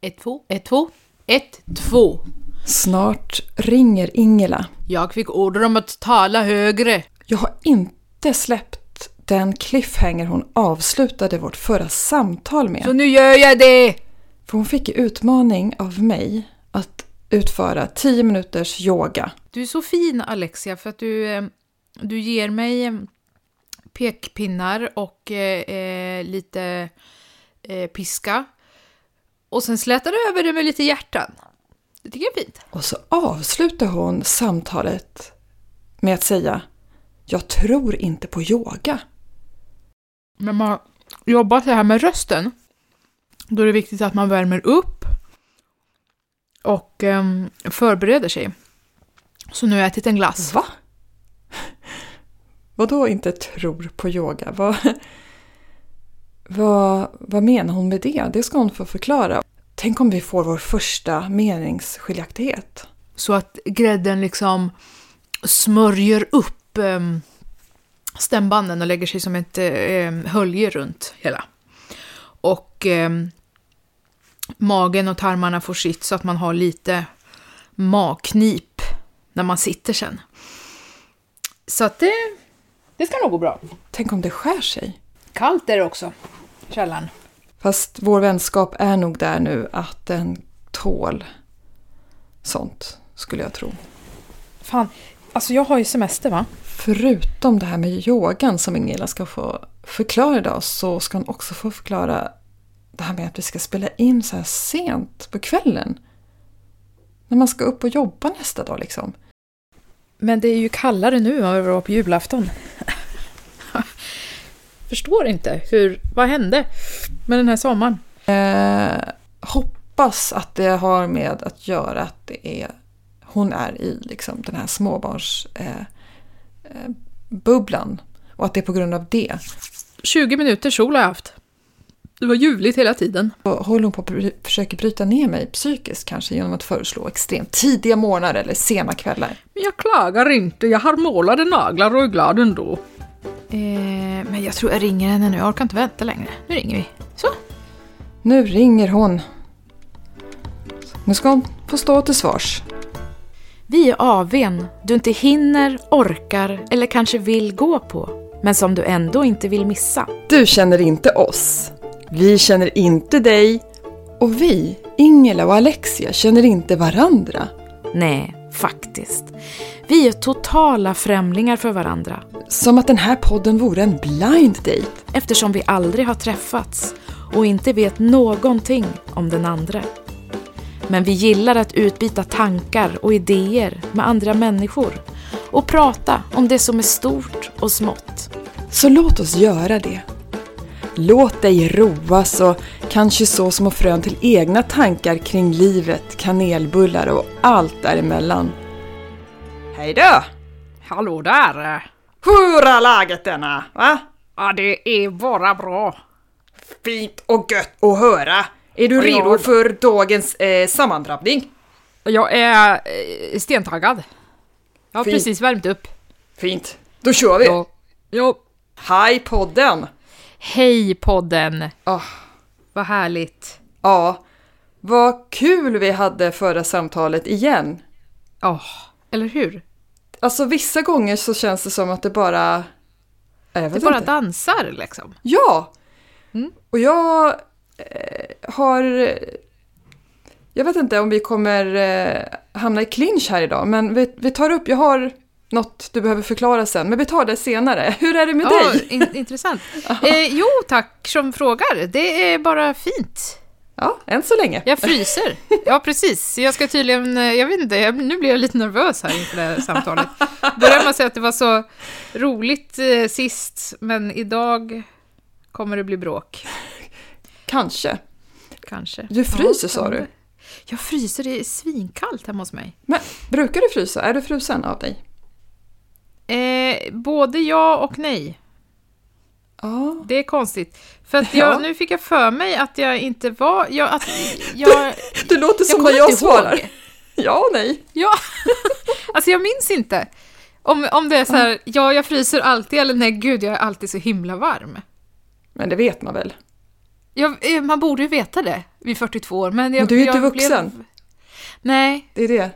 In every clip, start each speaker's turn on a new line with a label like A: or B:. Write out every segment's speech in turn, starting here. A: Ett, två, ett, två, ett, två.
B: Snart ringer Ingela.
A: Jag fick order om att tala högre.
B: Jag har inte släppt den cliffhanger hon avslutade vårt förra samtal med.
A: Så nu gör jag det!
B: För hon fick i utmaning av mig att utföra 10 minuters yoga.
A: Du är så fin Alexia för att du, eh, du ger mig eh, pekpinnar och eh, eh, lite eh, piska. Och sen slätar du över det med lite hjärtan. Det tycker jag är fint.
B: Och så avslutar hon samtalet med att säga Jag tror inte på yoga.
A: När man jobbar så här med rösten, då är det viktigt att man värmer upp och ehm, förbereder sig. Så nu har jag ätit en glass.
B: Va? Vadå inte tror på yoga? Vad, vad, vad menar hon med det? Det ska hon få förklara. Tänk om vi får vår första meningsskiljaktighet.
A: Så att grädden liksom smörjer upp ehm, stämbanden och lägger sig som ett eh, hölje runt hela. Och ehm, magen och tarmarna får sitt så att man har lite magknip när man sitter sen. Så att det, det ska nog gå bra.
B: Tänk om det skär sig.
A: Kallt är det också, källaren.
B: Fast vår vänskap är nog där nu att den tål sånt, skulle jag tro.
A: Fan, alltså jag har ju semester va?
B: Förutom det här med yogan som Ingela ska få förklara idag så ska hon också få förklara det här med att vi ska spela in så här sent på kvällen. När man ska upp och jobba nästa dag liksom.
A: Men det är ju kallare nu än vad det var på julafton. Förstår inte hur, vad hände med den här sommaren?
B: Eh, hoppas att det har med att göra att det är, hon är i liksom den här småbarns eh, eh, bubblan och att det är på grund av det.
A: 20 minuter sol har jag haft. Det var ljuvligt hela tiden.
B: Och håller hon på att bry- försöka bryta ner mig psykiskt kanske genom att föreslå extremt tidiga morgnar eller sena kvällar.
A: Men jag klagar inte, jag har målade naglar och är glad ändå. Eh, men jag tror jag ringer henne nu, jag orkar inte vänta längre. Nu ringer vi. Så.
B: Nu ringer hon. Nu ska hon få stå till svars.
A: Vi är AWn du inte hinner, orkar eller kanske vill gå på, men som du ändå inte vill missa.
B: Du känner inte oss. Vi känner inte dig. Och vi, Ingela och Alexia, känner inte varandra.
A: Nej, faktiskt. Vi är totala främlingar för varandra
B: Som att den här podden vore en blind date.
A: eftersom vi aldrig har träffats och inte vet någonting om den andra. Men vi gillar att utbyta tankar och idéer med andra människor och prata om det som är stort och smått.
B: Så låt oss göra det. Låt dig roas och kanske så små frön till egna tankar kring livet, kanelbullar och allt däremellan. Hej då!
A: Hallå där!
B: Hur är läget denna? Va?
A: Ja, det är bara bra.
B: Fint och gött att höra! Är du
A: jag-
B: redo för dagens eh, sammandrabbning?
A: Jag är eh, stentaggad. Jag har
B: Fint.
A: precis värmt upp.
B: Fint. Då kör vi!
A: ja.
B: Hej podden!
A: Hej podden!
B: Ah,
A: Vad härligt.
B: ja, vad kul vi hade förra samtalet igen.
A: Ja, eller hur?
B: Alltså vissa gånger så känns det som att det bara... Jag vet
A: Det bara
B: inte.
A: dansar liksom.
B: Ja! Och jag eh, har... Jag vet inte om vi kommer eh, hamna i clinch här idag, men vi, vi tar upp... Jag har något du behöver förklara sen, men vi tar det senare. Hur är det med
A: Ja,
B: dig?
A: in, intressant. Eh, jo, tack som frågar. Det är bara fint.
B: Ja, än så länge.
A: Jag fryser. Ja, precis. Jag ska tydligen... eh, Jag vet inte, jag, nu blir jag lite nervös här inför det här samtalet. Börjar man säga att det var så roligt eh, sist, men idag kommer det bli bråk,
B: Kanske.
A: kanske.
B: Du fryser,
A: Ja,
B: sa du?
A: spännande. Jag fryser, det är svinkallt hemma hos mig.
B: Men brukar du frysa? Är du frusen av dig?
A: Eh, både ja och nej.
B: Ja.
A: Det är konstigt. För att jag,
B: Ja.
A: nu fick jag för mig att jag inte var... Jag, att, jag,
B: Du låter som
A: kommer
B: när jag
A: inte ihåg.
B: svarar. Ja och nej.
A: ja. alltså jag minns inte. Om, om det är så här, ja jag fryser alltid eller nej gud jag är alltid så himla varm.
B: Men det vet man väl?
A: Jag, eh, man borde ju veta det vid 42 år. Men, jag,
B: Men du är ju
A: jag
B: inte vuxen.
A: Blev... Nej,
B: Det är det.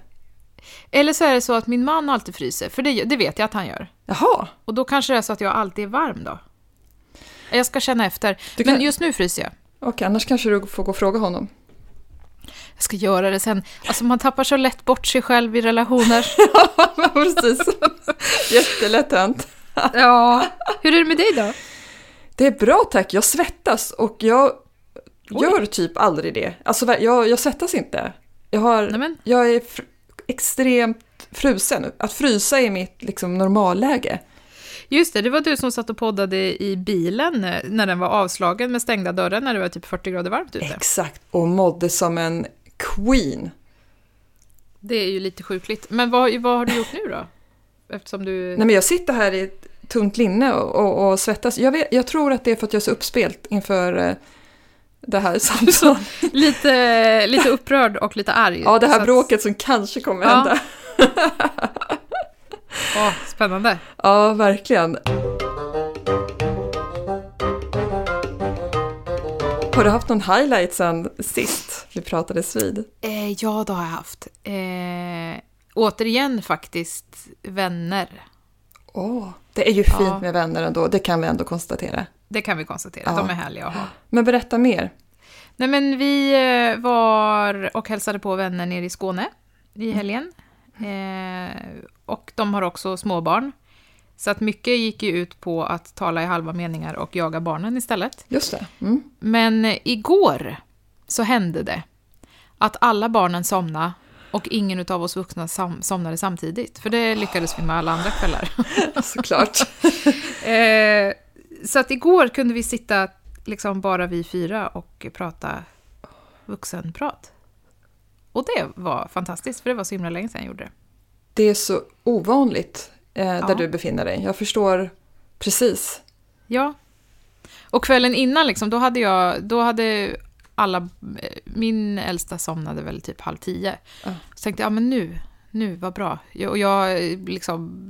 A: eller så är det så att min man alltid fryser, för det, det vet jag att han gör.
B: Jaha.
A: Och då kanske det är så att jag alltid är varm då. Jag ska känna efter.
B: Du
A: Men
B: kan-
A: just nu fryser jag.
B: Okej, annars kanske du får gå och fråga honom.
A: Jag ska göra det sen. Alltså man tappar så lätt bort sig själv i relationer.
B: Ja, precis. Jättelätt hänt.
A: ja. Hur är det med dig då?
B: Det är bra tack, jag svettas och jag gör typ aldrig det. Alltså ver- jag, jag svettas inte. Jag, har,
A: Nej, men.
B: jag är fr- extremt frusen. Att frysa är mitt liksom, normalläge.
A: Just det, det var du som satt och poddade i bilen eh, när den var avslagen med stängda dörrar när det var typ 40 grader varmt ute.
B: Exakt, och mådde som en queen.
A: Det är ju lite sjukligt. Men vad, vad har du gjort nu då? Eftersom du...
B: Nej, men jag sitter här i ett tunt linne och, och, och svettas. Jag, vet, jag tror att det är för att jag är så uppspelt inför eh, det här samtalet.
A: Lite, lite upprörd och lite arg.
B: Ja, det
A: Så
B: här
A: att-
B: bråket som kanske kommer
A: Ja.
B: hända.
A: Åh, spännande.
B: Ja, verkligen. Har du haft någon highlight sen sist vi pratades vid?
A: Eh, ja, det har jag haft. Eh, återigen faktiskt vänner.
B: Åh, det är ju fint
A: Ja.
B: med vänner ändå, det kan vi ändå konstatera.
A: Det kan vi konstatera,
B: Ja.
A: de är härliga att ha.
B: Men berätta mer.
A: Nej men vi eh, var och hälsade på vänner nere i Skåne i helgen. Eh, och de har också småbarn. Så att mycket gick ju ut på att tala i halva meningar och jaga barnen istället.
B: Just det. Mm.
A: Men eh, igår så hände det att alla barnen somnade och ingen av oss vuxna sam- somnade samtidigt. För det lyckades vi med alla andra kvällar.
B: Såklart.
A: Eh, så att igår kunde vi sitta liksom bara vi fyra och prata vuxenprat. Och det var fantastiskt, för det var så himla länge sedan jag gjorde det.
B: Det är så ovanligt eh, där
A: Ja.
B: du befinner dig. Jag förstår precis.
A: Ja. Och kvällen innan, liksom, då hade jag, då hade alla, eh, min äldsta somnade väl typ halv tio.
B: Ja.
A: Så tänkte jag, ja men nu, nu, vad bra. Jag, och jag eh, liksom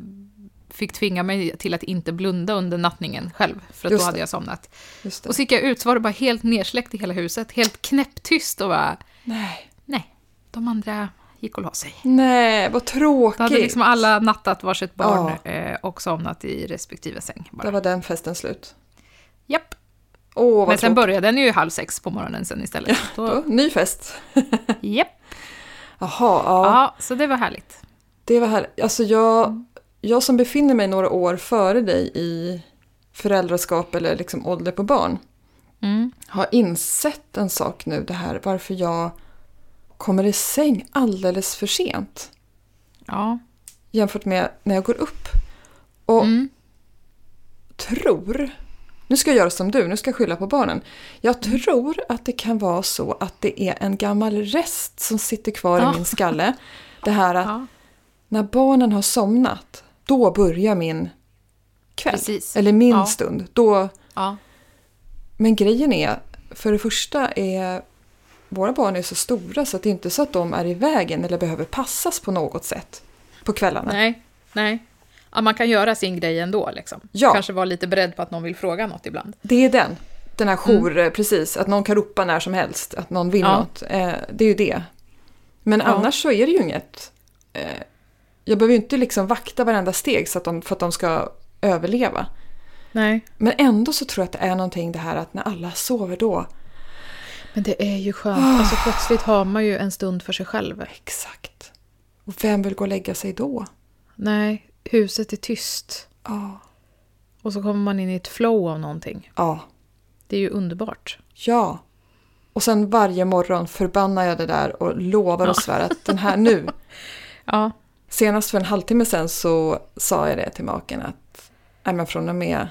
A: fick tvinga mig till att inte blunda under nattningen själv, för att
B: Just
A: då hade
B: det.
A: jag somnat.
B: Just det.
A: Och så gick jag ut, så var det bara helt nersläckt i hela huset, helt knäpptyst och bara,
B: Nej.
A: nej, de andra gick och la sig.
B: Nej, vad tråkigt.
A: Då hade liksom alla nattat varsitt barn eh, och somnat i respektive säng.
B: Där
A: Bara.
B: var den festen slut.
A: Japp.
B: Åh, vad
A: Men sen
B: tråkigt.
A: började den ju halv sex på morgonen sen istället. Då,
B: Då, Ny fest.
A: japp.
B: Jaha, ja.
A: Ja, så det var härligt.
B: Det var här, alltså jag, jag som befinner mig några år före dig i föräldraskap eller liksom ålder på barn
A: Mm.
B: har insett en sak nu det här varför jag kommer i säng alldeles för sent
A: Ja.
B: jämfört med när jag går upp. Och
A: Mm.
B: tror, nu ska jag göra som du, nu ska jag skylla på barnen. Jag tror att det kan vara så att det är en gammal rest som sitter kvar
A: Ja.
B: i min skalle. Det här att
A: ja.
B: när barnen har somnat, då börjar min kväll.
A: Precis.
B: Eller min
A: Ja.
B: stund. Då,
A: Ja.
B: men grejen är, för det första är våra barn är så stora så att det är inte så att de är i vägen eller behöver passas på något sätt på kvällarna.
A: Nej. Nej. Ja, man kan göra sin grej ändå. Liksom.
B: Ja.
A: Kanske vara lite beredd på att någon vill fråga något ibland.
B: Det är den. Den här jour, precis, att någon kan ropa när som helst, att någon vill
A: Mm. Ja.
B: något. Eh, det är ju det. Men
A: Ja.
B: annars så är det ju inget. Eh, jag behöver ju inte liksom vakta varenda steg så att de, för att de ska överleva.
A: Nej.
B: Men ändå så tror jag att det är någonting det här att när alla sover då.
A: Men det är ju skönt. Alltså, plötsligt har man ju en stund för sig själv.
B: Exakt. Och vem vill gå och lägga sig då?
A: Nej, huset är tyst.
B: Ja.
A: Och så kommer man in i ett flow av någonting.
B: Ja.
A: Det är ju underbart.
B: Ja. Och sen varje morgon förbannar jag det där och lovar och svär att den här nu.
A: Ja.
B: Senast för en halvtimme sen så sa jag det till maken att nej men från och med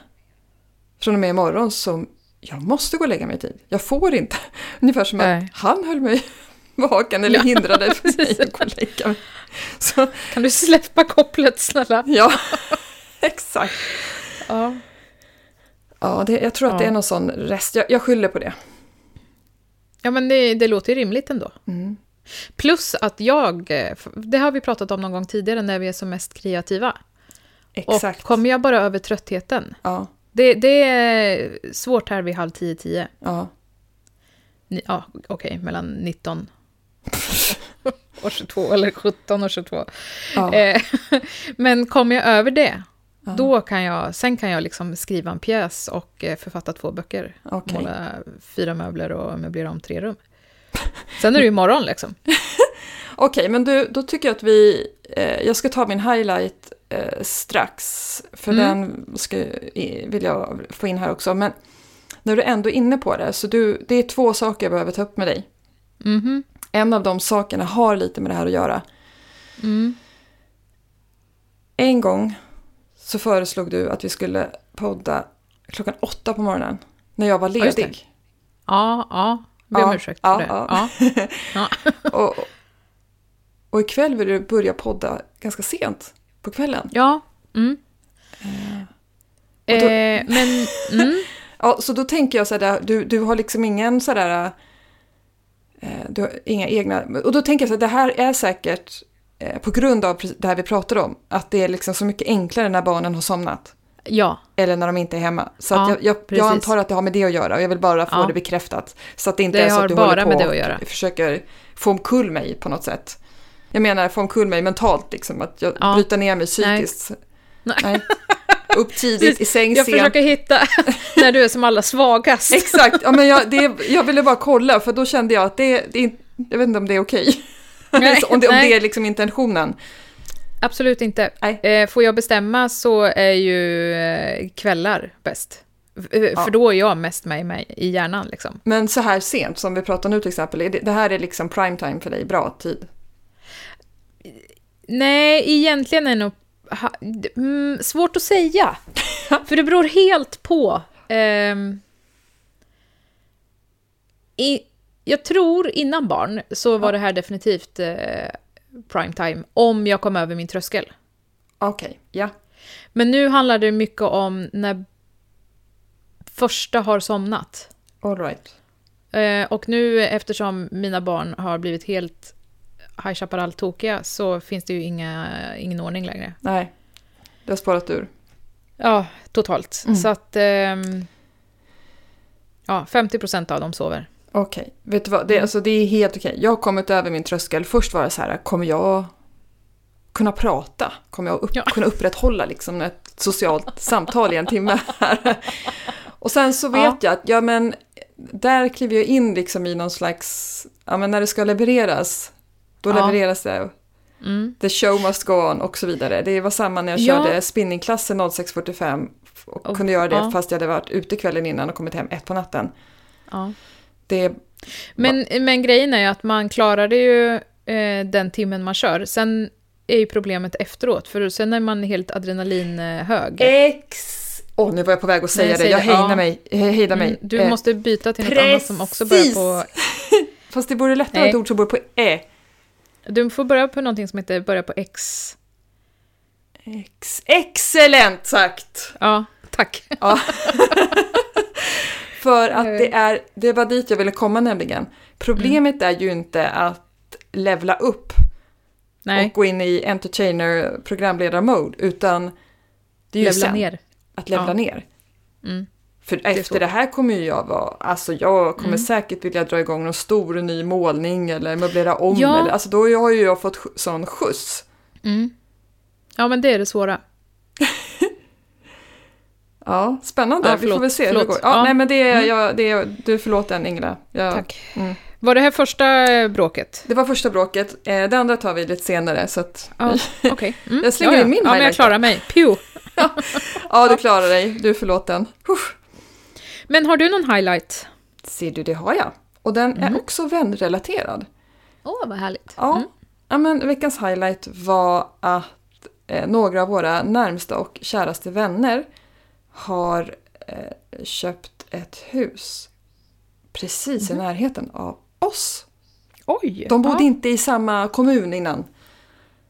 B: från och med imorgon så jag måste gå och lägga mig i tid. Jag får inte. Ungefär som
A: Nej.
B: att han höll mig vaken eller hindrade mig att gå och lägga mig. Så,
A: Kan du släppa kopplet snälla?
B: ja, exakt.
A: Ja.
B: Ja, det, jag tror att det
A: Ja.
B: är någon sån rest. Jag, jag skyller på det.
A: Ja, men det, det låter ju rimligt ändå.
B: Mm.
A: Plus att jag, eh, f- det har vi pratat om någon gång tidigare när vi är som mest kreativa.
B: Exakt.
A: Och kommer jag bara över tröttheten?
B: Ja,
A: Det, det är svårt här vid halv tio, tio.
B: ja.
A: ni- ja, okej, mellan 19 och 22, eller 17 och 22.
B: Ja.
A: Eh, men kommer jag över det,
B: Ja.
A: då kan jag, sen kan jag liksom skriva en pjäs och eh, författa två böcker.
B: Okej.
A: Måla fyra möbler och möblera om tre rum. Sen är det ju imorgon liksom.
B: Okej, men du, då tycker jag att vi... Eh, jag ska ta min highlight eh, strax, för
A: Mm.
B: den ska, i- vill jag få in här också. Men när du ändå är inne på det, så du, det är två saker jag behöver ta upp med dig.
A: Mhm.
B: En av de sakerna har lite med det här att göra.
A: Mm.
B: En gång så föreslog du att vi skulle podda klockan åtta på morgonen, när jag var
A: Ja, just det.
B: ledig.
A: Ja, ja. Be om
B: Ja,
A: ursäkt för
B: ja,
A: det.
B: ja.
A: Ja.
B: Och, och ikväll vill du börja podda ganska sent på kvällen.
A: ja. Mm.
B: Och då-
A: Eh, men, mm.
B: Ja, så då tänker jag så här, där, du, du har liksom ingen sådär... Eh, du har inga egna... Och då tänker jag så här, det här är säkert eh, på grund av precis det här vi pratar om, att det är liksom så mycket enklare när barnen har somnat.
A: ja.
B: Eller när de inte är hemma. Så
A: Ja,
B: att jag, jag, jag
A: precis.
B: antar att det har med det att göra och jag vill bara få
A: Ja.
B: det bekräftat. Så att det inte
A: Det
B: är så
A: har
B: att du
A: bara
B: håller på
A: med det att göra.
B: och försöker få omkull mig på något sätt. Jag menar få omkull mig mentalt, liksom, att jag
A: Ja.
B: bryter ner mig psykiskt.
A: Nej.
B: Nej. Upp tidigt, i säng
A: Jag
B: sent.
A: försöker hitta när du är som allra svagast.
B: Exakt, ja, men jag, det, jag ville bara kolla för då kände jag att det, det är- jag vet inte om det är okej.
A: Nej,
B: Så om, det, om
A: nej.
B: det är liksom intentionen.
A: Absolut inte.
B: Nej.
A: Eh, Får jag bestämma så är ju eh, kvällar bäst. F- eh, För
B: Ja.
A: då är jag mest med i mig i hjärnan liksom.
B: Men så här sent som vi pratar nu till exempel, är det, det här är liksom prime time för dig, bra tid.
A: Nej, egentligen är nog... ha- d- Mm, svårt att säga. För det beror helt på. ehm, i, jag tror innan barn så var det här definitivt eh, prime time. Om jag kom över min tröskel.
B: Okej, ja.
A: Men nu handlar det mycket om när första har somnat.
B: All right.
A: Eh, och nu eftersom mina barn har blivit helt High Chaparral-tokiga så finns det ju inga, ingen ordning längre.
B: Nej, det har spårat ur.
A: Ja, totalt.
B: Mm.
A: Så att... ehm, ja, 50% av dem sover.
B: Okej, vet du vad, det, alltså, det är helt okej. Jag har kommit över min tröskel. Först var det så här, kommer jag kunna prata? Kommer jag upp,
A: Ja.
B: kunna upprätthålla liksom ett socialt samtal i en timme här? Och sen så vet
A: Ja.
B: jag att, ja men, där kliver jag in liksom i någon slags, ja men när det ska levereras, då
A: Ja.
B: levereras det.
A: Mm.
B: The show must go on och så vidare. Det var samma när jag
A: Ja.
B: körde spinningklassen 06.45 och
A: Och-
B: kunde göra det
A: ja.
B: fast jag hade varit ute kvällen innan och kommit hem ett på natten.
A: Ja.
B: Det,
A: Men, men grejen är ju att man klarar det ju eh, den timmen man kör. Sen är ju problemet efteråt, för sen är man helt adrenalinhög.
B: Eh, Ex... Åh, nu var jag på väg att säga
A: Nej,
B: det.
A: säg
B: Jag
A: det.
B: hejdar
A: Ja.
B: mig. Eh, Hejda mig.
A: Mm, du
B: Eh,
A: måste byta till något annat som också börjar
B: precis.
A: på...
B: Fast det vore lättare
A: Nej.
B: att ett ord som borde på E. ä.
A: Du får börja på någonting som heter börja på X.
B: Ex... Excellent sagt!
A: Ja, tack.
B: För att
A: Eh.
B: det är... Det var dit jag ville komma nämligen. Problemet
A: Mm.
B: är ju inte att levla upp och
A: Nej,
B: gå in i entertainer programledar-mode, utan det är ju
A: levla
B: sen
A: ner.
B: att levla
A: Ja.
B: ner.
A: Mm.
B: För
A: är Mm.
B: efter
A: så.
B: det här kommer ju jag vara, alltså jag kommer säkert vilja dra igång någon stor ny målning eller möblera om.
A: Ja.
B: Eller, alltså då har ju jag fått sk- sån skjuts.
A: Mm. Ja, men det är det svåra.
B: Ja, spännande.
A: Ja,
B: vi får
A: förlåt,
B: väl se hur det går.
A: förlåt.
B: Ja, Mm.
A: Ja.
B: Nej, men det är, jag, det är, du förlåt den Ingela. Jag,
A: Tack.
B: Mm.
A: Var det här första eh, bråket?
B: Det var första bråket. Eh, Det andra tar vi lite senare. Så att,
A: Ja, okej. Mm.
B: Jag slänger
A: ja, ja.
B: in min
A: Ja, men jag
B: highlight.
A: klarar mig. Pew.
B: ja, du klarar dig. Du är förlåten. Uff.
A: Men har du någon highlight?
B: Ser du, det har jag. Mm. Och den är också vänrelaterad.
A: Åh, vad härligt.
B: Ja. ja, men veckans highlight var att eh, några av våra närmsta och käraste vänner har eh, köpt ett hus precis i närheten av oss.
A: Oj!
B: De bodde
A: ja.
B: inte i samma kommun innan.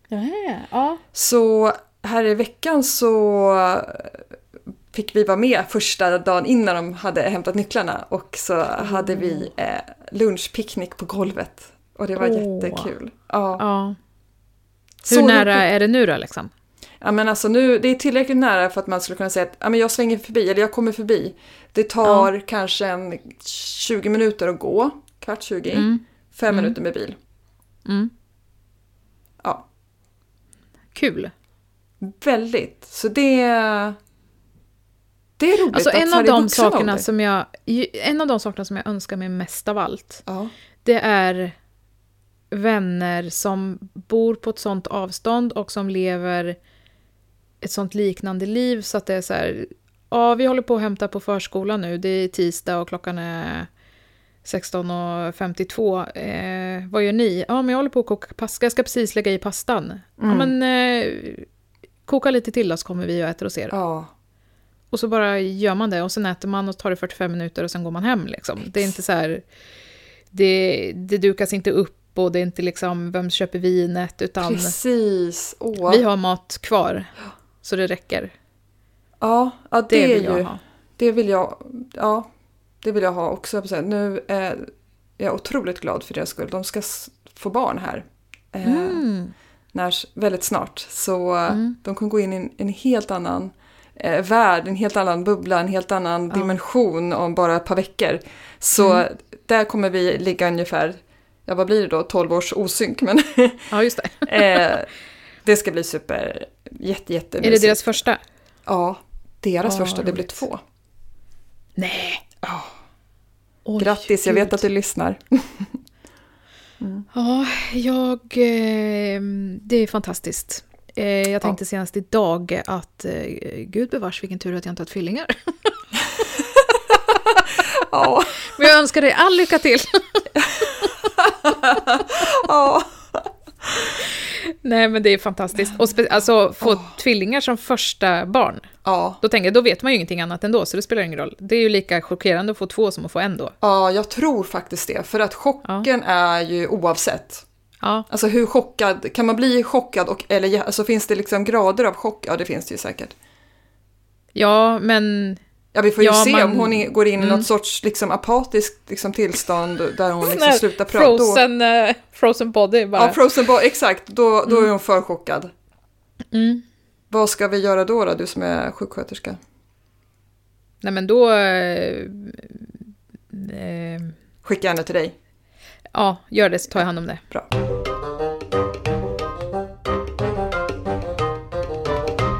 A: Nähä, Ja.
B: Så här i veckan så fick vi vara med första dagen innan de hade hämtat nycklarna och så hade vi eh, lunchpicknick på golvet. Och det var
A: Mm. Åh.
B: jättekul. Ja.
A: ja. Hur
B: Så
A: nära
B: roligt.
A: är det nu då, liksom?
B: Ja men alltså nu, det är tillräckligt nära för att man skulle kunna säga att ja, men jag svänger förbi eller jag kommer förbi. Det tar kanske en 20 minuter att gå kvart 20.
A: Mm.
B: Fem
A: Mm.
B: minuter med bil.
A: Mm.
B: Ja,
A: Kul.
B: väldigt. Så det... Det är roligt
A: Alltså
B: att
A: en
B: så här
A: av
B: i
A: de
B: vuxen ålder-
A: sakerna som jag, en av de sakerna som jag önskar mig mest av allt,
B: Ja.
A: det är vänner som bor på ett sånt avstånd och som lever ett sånt liknande liv så att det är så här, ja vi håller på att hämta på förskolan nu, det är tisdag och klockan är 16.52, eh, vad gör ni? Ja men jag håller på att koka pasta, jag ska precis lägga i pastan. Ja men eh, koka lite till då så kommer vi och äter hos er.
B: ja.
A: Och så bara gör man det och sen äter man och tar det 45 minuter och sen går man hem. Liksom. Det är inte så här, det, det dukas inte upp och det är inte liksom vem köper vinet utan
B: Precis. Åh.
A: vi har mat kvar. Så det räcker.
B: Ja, ja det,
A: Det,
B: är
A: vill
B: ju...
A: jag ha.
B: Det vill jag, ja, det vill jag ha också. jag får säga. Nu är jag otroligt glad för deras skull. De ska s- få barn här eh,
A: Mm.
B: när, väldigt snart. Så eh,
A: Mm.
B: de kommer gå in i en, en helt annan eh, värld, en helt annan bubbla, en helt annan
A: Ja. Mm.
B: dimension om bara ett par veckor. Så där kommer vi ligga ungefär, ja vad blir det då, 12 års osynk. Men
A: Ja, just det.
B: eh, det ska bli super, jätte, jätte
A: Är det deras första?
B: Ja, deras
A: Ja,
B: första, det
A: Ah,
B: blir
A: roligt.
B: två.
A: Nej!
B: Ja.
A: Oj,
B: Grattis, jag vet
A: gud.
B: att du lyssnar.
A: Ja, jag... Eh, det är fantastiskt. Eh, jag tänkte senast idag att eh, gud bevars vilken tur att jag inte har haft tvillingar.
B: Ja,
A: Men jag önskar dig all lycka till.
B: ja.
A: Nej men det är fantastiskt. Och spe- alltså få tvillingar som första barn.
B: ja.
A: Då tänker jag, då vet man ju ingenting annat ändå så det spelar ingen roll. Det är ju lika chockerande att få två som att få en då.
B: Ja, jag tror faktiskt det. För att chocken är ju oavsett.
A: Ja,
B: Alltså hur chockad, kan man bli chockad och, eller jä- alltså, finns det liksom grader av chock? Ja, det finns det ju säkert.
A: ja men
B: Ja, vi får ju
A: Ja,
B: se
A: man- Mm.
B: om hon i- går in i något sorts liksom apatiskt liksom, tillstånd där hon liksom
A: Nej,
B: slutar prata. Då-
A: frozen, eh, frozen body bara.
B: Ja, frozen ball, exakt. Då, då är hon för chockad.
A: mm.
B: Vad ska vi göra då, då, du som är sjuksköterska?
A: Nej men då... Eh, eh,
B: Skicka henne till dig.
A: ja, gör det så tar jag hand om det.
B: Bra.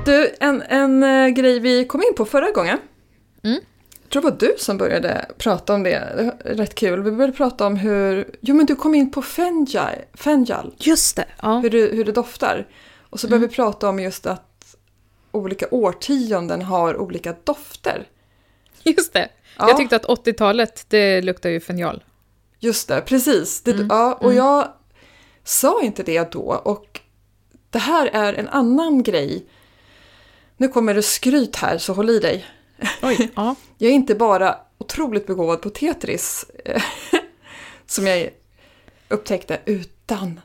B: Du, en, en eh, grej vi kom in på förra gången.
A: Mm.
B: Jag tror det var du som började prata om det. Det var Rätt kul. Vi började prata om hur... Jo, men du kom in på fenjal, fenjal
A: Just det! Ja.
B: hur, det, hur det doftar. Och så började
A: Mm.
B: vi prata om just att olika årtionden har olika dofter.
A: Just det.
B: Ja.
A: Jag tyckte att 80-talet, det luktar ju fenjal.
B: Just det, precis.
A: Mm.
B: Det, ja, och jag sa inte det då och det här är en annan grej. Nu kommer det skryt här, så håll i dig.
A: Oj, ja.
B: Jag är inte bara otroligt begåvad på Tetris, eh, som jag upptäckte, utan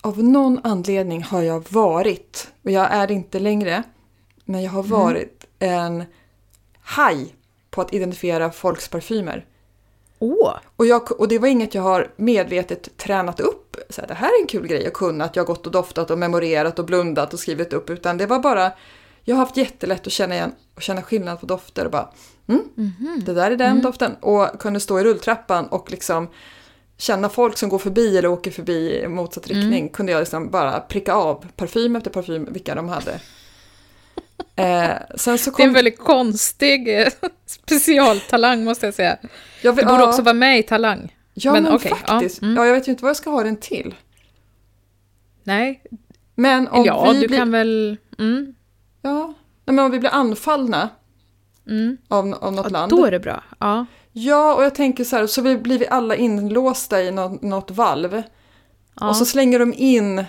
B: av någon anledning har jag varit, och jag är det inte längre, men jag har varit en haj på att identifiera folks parfymer.
A: Åh!
B: Och, jag, och det var inget jag har medvetet tränat upp. Så här, det här är en kul grej att kunna, att jag har gått och doftat och memorerat och blundat och skrivit upp. Utan det var bara, jag har haft jättelätt att känna igen och känna skillnad på dofter och bara, mm,
A: Mhm.
B: det där är den
A: Mm.
B: doften. Och kunde stå i rulltrappan och liksom känna folk som går förbi eller åker förbi i motsatt
A: Mm.
B: riktning. Kunde jag liksom bara pricka av parfym efter parfym vilka de hade. Eh, sen så
A: Det
B: kom,
A: är en väldigt konstig eh, specialtalang måste jag säga.
B: jag, vill-
A: Du borde
B: ja.
A: också vara med i Talang.
B: Ja, men,
A: Men okej, ja,
B: faktiskt. Ja,
A: mm.
B: jag vet ju inte vad jag ska ha den till.
A: Nej,
B: Men om
A: ja
B: vi
A: du
B: blir...
A: kan väl... Mm,
B: Ja, Nej, men om vi blir anfallna
A: mm.
B: av, av något
A: Ja,
B: land.
A: då är det bra. Ja.
B: Ja, och jag tänker så här, så vi blir vi alla inlåsta i något, något valv.
A: Ja.
B: Och så slänger de in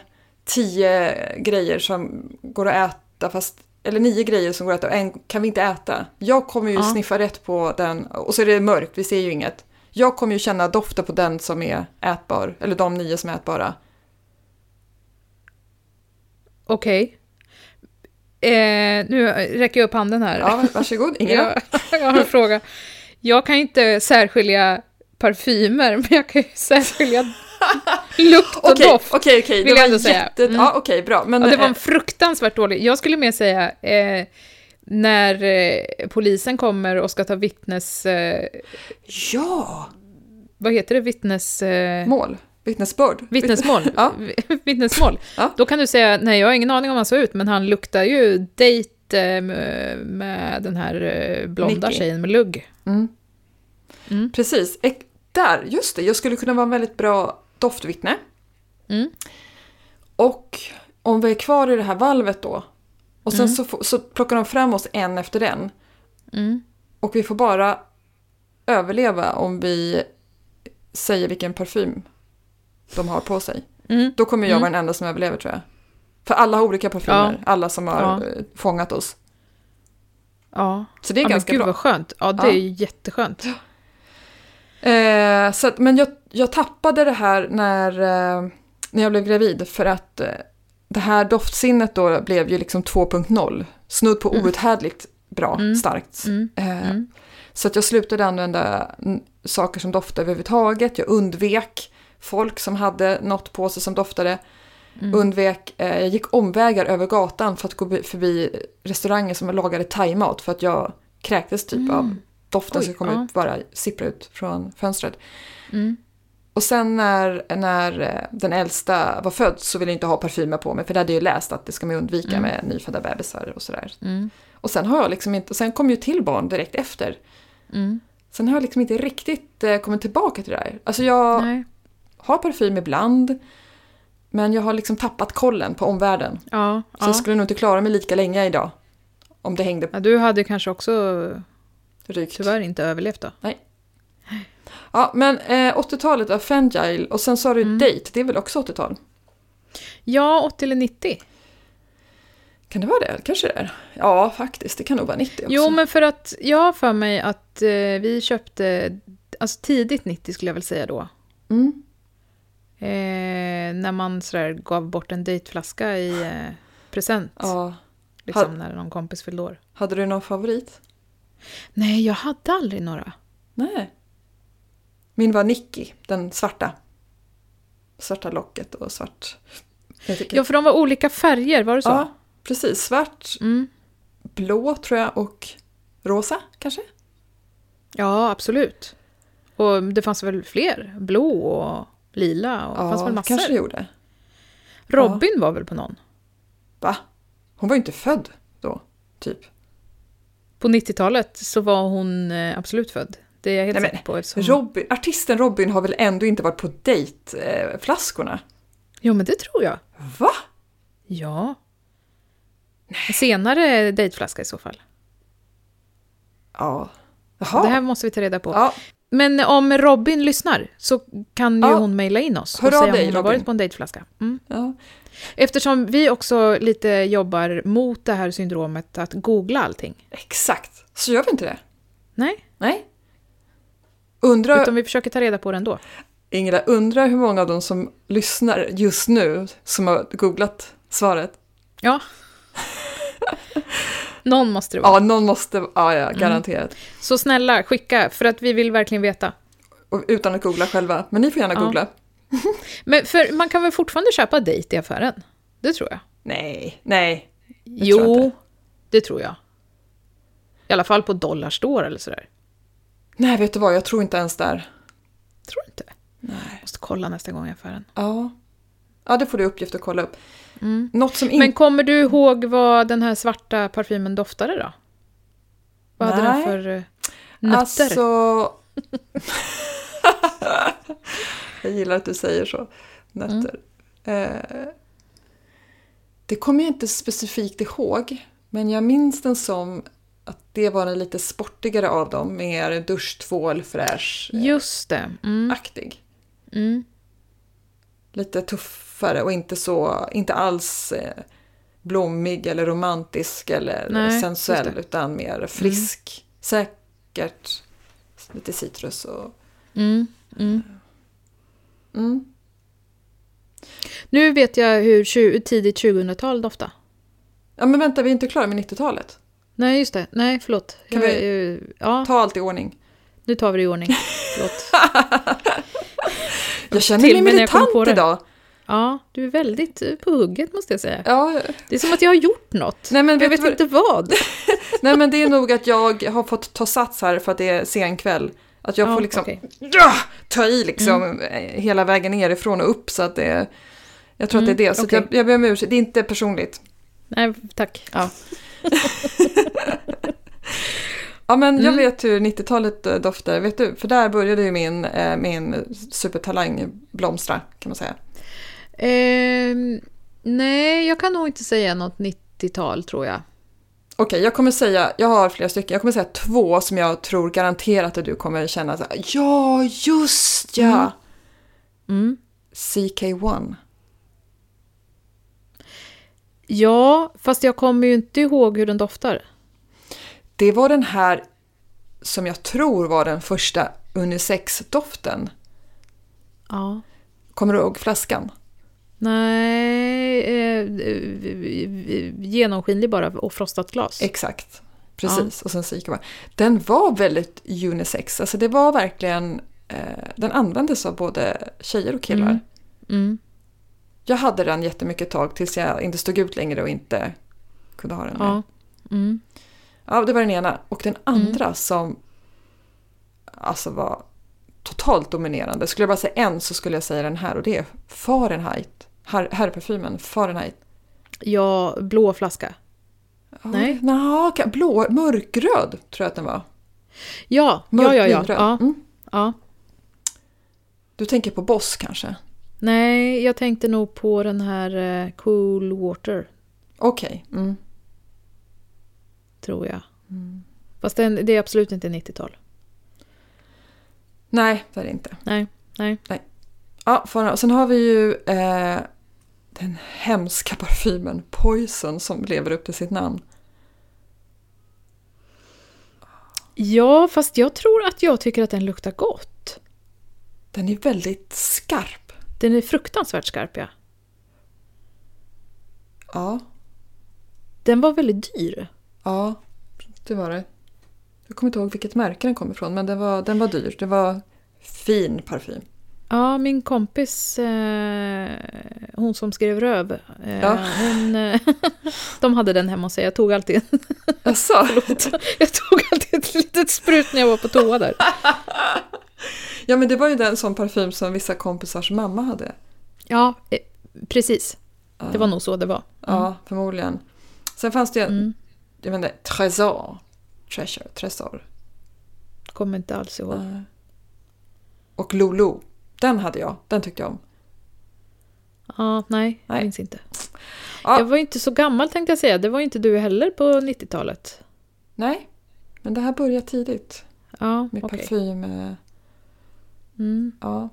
B: tio grejer som går att äta, fast, eller nio grejer som går att äta och en kan vi inte äta. Jag kommer ju
A: Ja.
B: sniffa rätt på den, och så är det mörkt, vi ser ju inget. Jag kommer ju känna doften på den som är ätbar, eller de nio som är ätbara.
A: Okej. Eh, nu räcker jag upp handen här.
B: Ja, varsågod, Ingela.
A: jag, jag har en fråga. Jag kan inte särskilja parfymer, men jag kan ju särskilja lukt och
B: Okej,
A: doft.
B: okej, okej.
A: vill
B: det
A: jag
B: var
A: ändå säga.
B: jätte-
A: Mm.
B: Ja, okej, bra. Men,
A: Ja, det var
B: eh,
A: en fruktansvärt dålig... Jag skulle mer säga eh, när eh, polisen kommer och ska ta vittnes... Eh,
B: Ja!
A: vad heter det, vittnes... Eh,
B: Mål? Vittnesbörd?
A: vittnesmål.
B: Ja.
A: Vi- vittnesmål.
B: Ja.
A: Då kan du säga, nej jag har ingen aning om hur han såg ut, men han luktar ju dejt eh, med den här eh, blonda
B: Nicky.
A: tjejen med lugg.
B: Mm.
A: Mm.
B: Precis. Ek- Där, just det. Jag skulle kunna vara en väldigt bra doftvittne.
A: Mm.
B: Och om vi är kvar i det här valvet då. Och sen så, få- så plockar de fram oss en efter en.
A: Mm.
B: Och vi får bara överleva om vi säger vilken parfym de har på sig.
A: Mm.
B: Då kommer jag vara den enda som överlever tror jag. För alla har olika parfymer, alla som har
A: Ja.
B: eh, fångat oss.
A: Ja.
B: Så det är
A: ja, men
B: ganska
A: gud
B: bra.
A: vad skönt. Ja, det
B: Ja.
A: är ju jätteskönt.
B: Eh, så att, men jag, jag tappade det här när, eh, när jag blev gravid för att eh, det här doftsinnet då blev ju liksom 2.0. Snudd på outhärdligt bra,
A: Mm.
B: starkt.
A: Mm.
B: Eh,
A: Mm.
B: Så att jag slutade använda mm, saker som doftade överhuvudtaget. Jag undvek folk som hade något på sig som doftade.
A: Mm.
B: Undvek, eh, jag gick omvägar över gatan för att gå be- förbi restauranger som lagade thaimat för att jag kräktes typ av doften
A: Mm. Oj,
B: som kom
A: ja.
B: ut, bara sippra ut från fönstret.
A: Mm.
B: Och sen när, när eh, den äldsta var född så ville jag inte ha parfymer på mig för det hade jag ju läst att det ska man ju undvika med nyfödda bebisar och sådär.
A: Mm.
B: Och sen har jag liksom inte, och sen kom ju till barn direkt efter.
A: Mm.
B: Sen har jag liksom inte riktigt eh, kommit tillbaka till det där. Alltså jag
A: Nej.
B: har parfym ibland, men jag har liksom tappat kollen på omvärlden.
A: Ja,
B: Så
A: ja.
B: jag skulle nog inte klara mig lika länge idag om det hängde
A: ja, du hade ju kanske också
B: rykt.
A: tyvärr inte överlevt då.
B: Ja, men eh, 80-talet av Fengile och sen sa du
A: Mm.
B: date, det är väl också 80-tal?
A: Ja, 80 eller 90.
B: Kan det vara det? Kanske det är. Ja, faktiskt, det kan nog vara 90 också.
A: Jo, men för att jag har för mig att eh, vi köpte, alltså tidigt 90 skulle jag väl säga då.
B: Mm.
A: Eh, när man sådär gav bort en dejtflaska i eh, present.
B: Ja.
A: Liksom när någon kompis fyllde år.
B: Hade du någon favorit?
A: Nej, jag hade aldrig några.
B: Nej. Min var Nicky, den svarta. Svarta locket och svart... Jag tycker-
A: Ja, för de var olika färger, var det så?
B: ja, precis. Svart,
A: Mm.
B: blå tror jag och rosa kanske?
A: Ja, absolut. Och det fanns väl fler? Blå och lila och det fanns väl massor?
B: kanske det gjorde.
A: Robin var väl på någon?
B: Va? Hon var ju inte född då, typ.
A: På 90-talet så var hon eh, absolut född. Det är jag helt
B: Nej, men-
A: säker på. Eftersom...
B: Robin, artisten Robin har väl ändå inte varit på dejtflaskorna?
A: Jo, men det tror jag.
B: Va?
A: Ja. Senare dejtflaska i så fall.
B: Ja. Jaha.
A: Det här måste vi ta reda på.
B: ja.
A: Men om Robin lyssnar så kan ju
B: Ja.
A: hon mejla in oss
B: Hör
A: och
B: av
A: säga om
B: dig,
A: hon har
B: Robin.
A: varit på en dejtflaska. Mm.
B: ja.
A: Eftersom vi också lite jobbar mot det här syndromet att googla allting.
B: Exakt. Så gör vi inte det?
A: Nej,
B: Nej. Undrar,
A: utan vi försöker ta reda på det ändå.
B: Ingela, undrar hur många av de som lyssnar just nu som har googlat svaret?
A: Ja. Någon måste det vara.
B: Ja, någon måste, ja, ja
A: Mm.
B: garanterat.
A: Så snälla, skicka, för att vi vill verkligen veta.
B: Och utan att googla själva, men ni får gärna
A: Ja.
B: googla.
A: Men för man kan väl fortfarande köpa dejt i affären? Det tror jag.
B: Nej, nej.
A: jo,
B: tror jag inte.
A: det tror jag. I alla fall på Dollarstore eller sådär.
B: Nej, vet du vad, jag tror inte ens där.
A: Tror du inte?
B: Nej.
A: Måste kolla nästa gång i affären.
B: Ja. Ja, det får du i uppgift att kolla upp.
A: Mm.
B: Något som
A: Men
B: inte...
A: kommer du ihåg vad den här svarta parfymen doftade då? Vad hade den
B: Nej.
A: för eh, nötter?
B: Alltså... jag gillar att du säger så. Nötter. Eh, det kommer jag inte specifikt ihåg, men jag minns den som att det var den lite sportigare av dem, mer duschtvål, fräsch, eh,
A: Just det. Mm,
B: aktig.
A: mm,
B: Lite tuffare och inte så, inte alls eh, blommig eller romantisk eller
A: Nej, just
B: sensuell,
A: det.
B: utan mer frisk, säkert, lite citrus och
A: mm, mm.
B: Mm.
A: Nu vet jag hur tju- tidigt 2000-tal doftade.
B: Ja men vänta, vi är inte klara med 90-talet.
A: Nej, just det. Nej, förlåt.
B: Kan
A: jag,
B: vi-
A: eh, ja,
B: Ta allt i ordning.
A: nu tar vi det i ordning. Förlåt.
B: Jag känner
A: till
B: mig
A: mig när jag kom
B: militant
A: på det.
B: idag.
A: Ja, du är väldigt eh, på hugget måste jag säga.
B: Ja,
A: Det är som att jag har gjort något.
B: nej, men
A: jag
B: vet
A: vet
B: du,
A: inte
B: vad-
A: vad.
B: nej men det är nog att jag har fått ta sats här för att det är sen kväll. Att jag
C: Ja,
B: får liksom
C: okej.
B: ja, ta i liksom eh,
A: Mm.
B: hela vägen nerifrån och upp så att det Jag tror att
A: Mm,
B: det är det, så att
C: okej.
B: jag, jag ber om ursäkt. Det är inte personligt.
A: Nej, tack.
B: Ja men jag
C: Mm.
B: vet hur 90-talet eh, doftar, vet du? För där började ju min, eh, min supertalang blomstra kan man säga.
A: Ehm, nej, jag kan nog inte säga något 90-tal tror jag.
B: Okej, jag kommer säga, jag har flera stycken, jag kommer säga två som jag tror garanterat att du kommer känna så här, ja just ja!
A: Mm.
B: CK1.
A: Ja, fast jag kommer ju inte ihåg hur den doftar.
B: Det var den här som jag tror var den första unisex-doften.
A: Ja.
B: Kommer du ihåg flaskan?
A: Nej, eh, eh, genomskinlig bara och frostat glas.
B: Exakt. Precis, och sen så gick jag bara. Den var väldigt unisex, alltså det var verkligen, eh, den användes av både tjejer och killar.
A: Mm. Mm.
B: Jag hade den jättemycket ett tag tills jag inte stod ut längre och inte kunde ha den mer.
A: Ja. Mm.
B: Ja, det var den ena. Och den andra som alltså var totalt dominerande. Skulle jag bara säga en så skulle jag säga den här och det är Fahrenheit. Herr, herrparfymen Fahrenheit.
A: ja, blå flaska. Nej.
B: Nå, ka- blå, mörkröd tror jag att den var.
A: Ja, ja, ja. ja.
B: Mörkvinröd.
A: ja,
B: Mm.
A: ja.
B: Du tänker på Boss kanske?
A: Nej, jag tänkte nog på den här eh, Cool Water,
B: Okej. Mm.
A: tror jag. Fast den, det är absolut inte 90-tal.
B: Nej, det är det inte.
A: Nej, nej.
B: Ja, Fahrenheit. Och sen har vi ju eh, den hemska parfymen Poison som lever upp till sitt namn.
A: Ja, fast jag tror att jag tycker att den luktar gott.
B: Den är väldigt skarp.
A: Den är fruktansvärt skarp, ja.
B: Ja.
A: Den var väldigt dyr.
B: Ja, det var det. Jag kommer inte ihåg vilket märke den kom ifrån, men den var, den var dyr. Det var fin parfym.
A: Ja, min kompis, eh, hon som skrev Röv, eh,
B: Ja.
A: hon, eh, de hade den hemma hos sig. Jag tog alltid,
B: Jaså?
A: jag tog alltid ett litet sprut när jag var på toa där.
B: Ja, men det var ju den sån parfym som vissa kompisars mamma hade.
A: Ja, eh, precis.
B: Ja,
A: Det var nog så det var.
B: ja förmodligen. Sen fanns det ju en,
A: Mm.
B: jag menar, Trésor. Treasure, Trésor.
A: Kommer inte alls ihåg.
B: Ja. Och Lolo. Den hade jag. Den tyckte jag om.
A: Ja, nej, jag
B: Nej.
A: minns inte.
B: Ja.
A: Jag var ju inte så gammal tänkte jag säga. Det var ju inte du heller på 90-talet.
B: Nej, men det här började tidigt
A: Ja,
B: med
A: okej.
B: parfym. eh,
A: Mm.
B: Ja.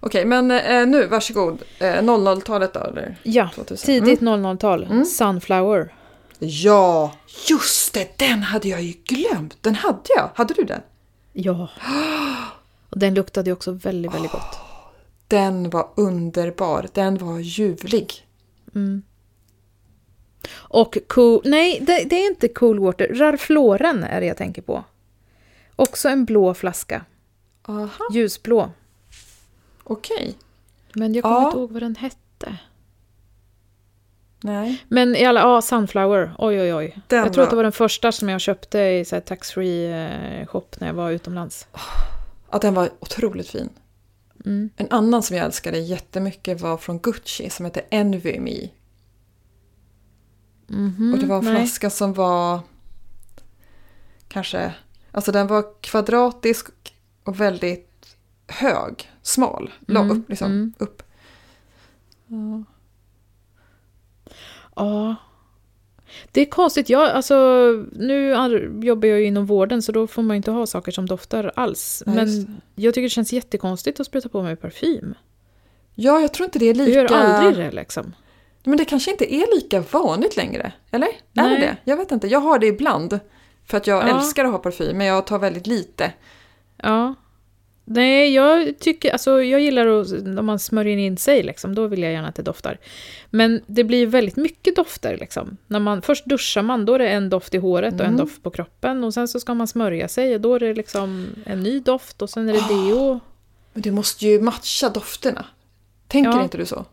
B: Okej, men eh, nu varsågod. Eh, 00-talet då, eller?
A: Ja,
B: 2000.
A: tidigt 00-tal.
B: Mm.
A: Sunflower.
B: Ja, just det! Den hade jag ju glömt. Den hade jag. Hade du den?
A: Ja. Och den luktade ju också väldigt, väldigt gott.
B: Den var underbar. Den var ljuvlig.
A: Mm. Och cool... Nej, det, det är inte Cool Water. Ralph Lauren är det jag tänker på. Också en blå flaska.
B: Aha,
A: Ljusblå.
B: okej.
A: Men jag kommer
B: Ja.
A: inte ihåg vad den hette.
B: Nej.
A: Men i alla... Ja, Sunflower. Oj, oj, oj.
B: Den
A: jag tror att det var
B: var-
A: den första som jag köpte i så här tax-free eh, shop när jag var utomlands.
B: Ja, den var otroligt fin.
A: Mm.
B: En annan som jag älskade jättemycket var från Gucci som hette Envy Me. Och det var en
A: Mhm, Mm, nej.
B: flaska som var kanske, alltså den var kvadratisk och väldigt hög, smal, lång,
A: Mm,
B: upp, liksom, upp.
A: Ja. Det är konstigt. Jag, alltså, nu ar- jobbar jag ju inom vården så då får man ju inte ha saker som doftar alls.
B: Ja, just
A: Men jag tycker det känns jättekonstigt att spruta på mig parfym.
B: Ja, jag tror inte det är lika...
A: Jag gör aldrig det liksom.
B: Men det kanske inte är lika vanligt längre, eller? Är
A: Nej.
B: det det? Jag vet inte. Jag har det ibland. För att jag
A: Ja.
B: älskar att ha parfym, men jag tar väldigt lite.
A: Ja. Nej, jag tycker, alltså jag gillar att, om man smörjer in sig liksom, då vill jag gärna att det doftar. Men det blir ju väldigt mycket dofter liksom. När man, först duschar man, då är det en doft i håret och en doft på kroppen. Och sen så ska man smörja sig och då är det liksom en ny doft och sen är det deo.
B: Men du måste ju matcha dofterna. Tänker
A: Ja.
B: inte du så?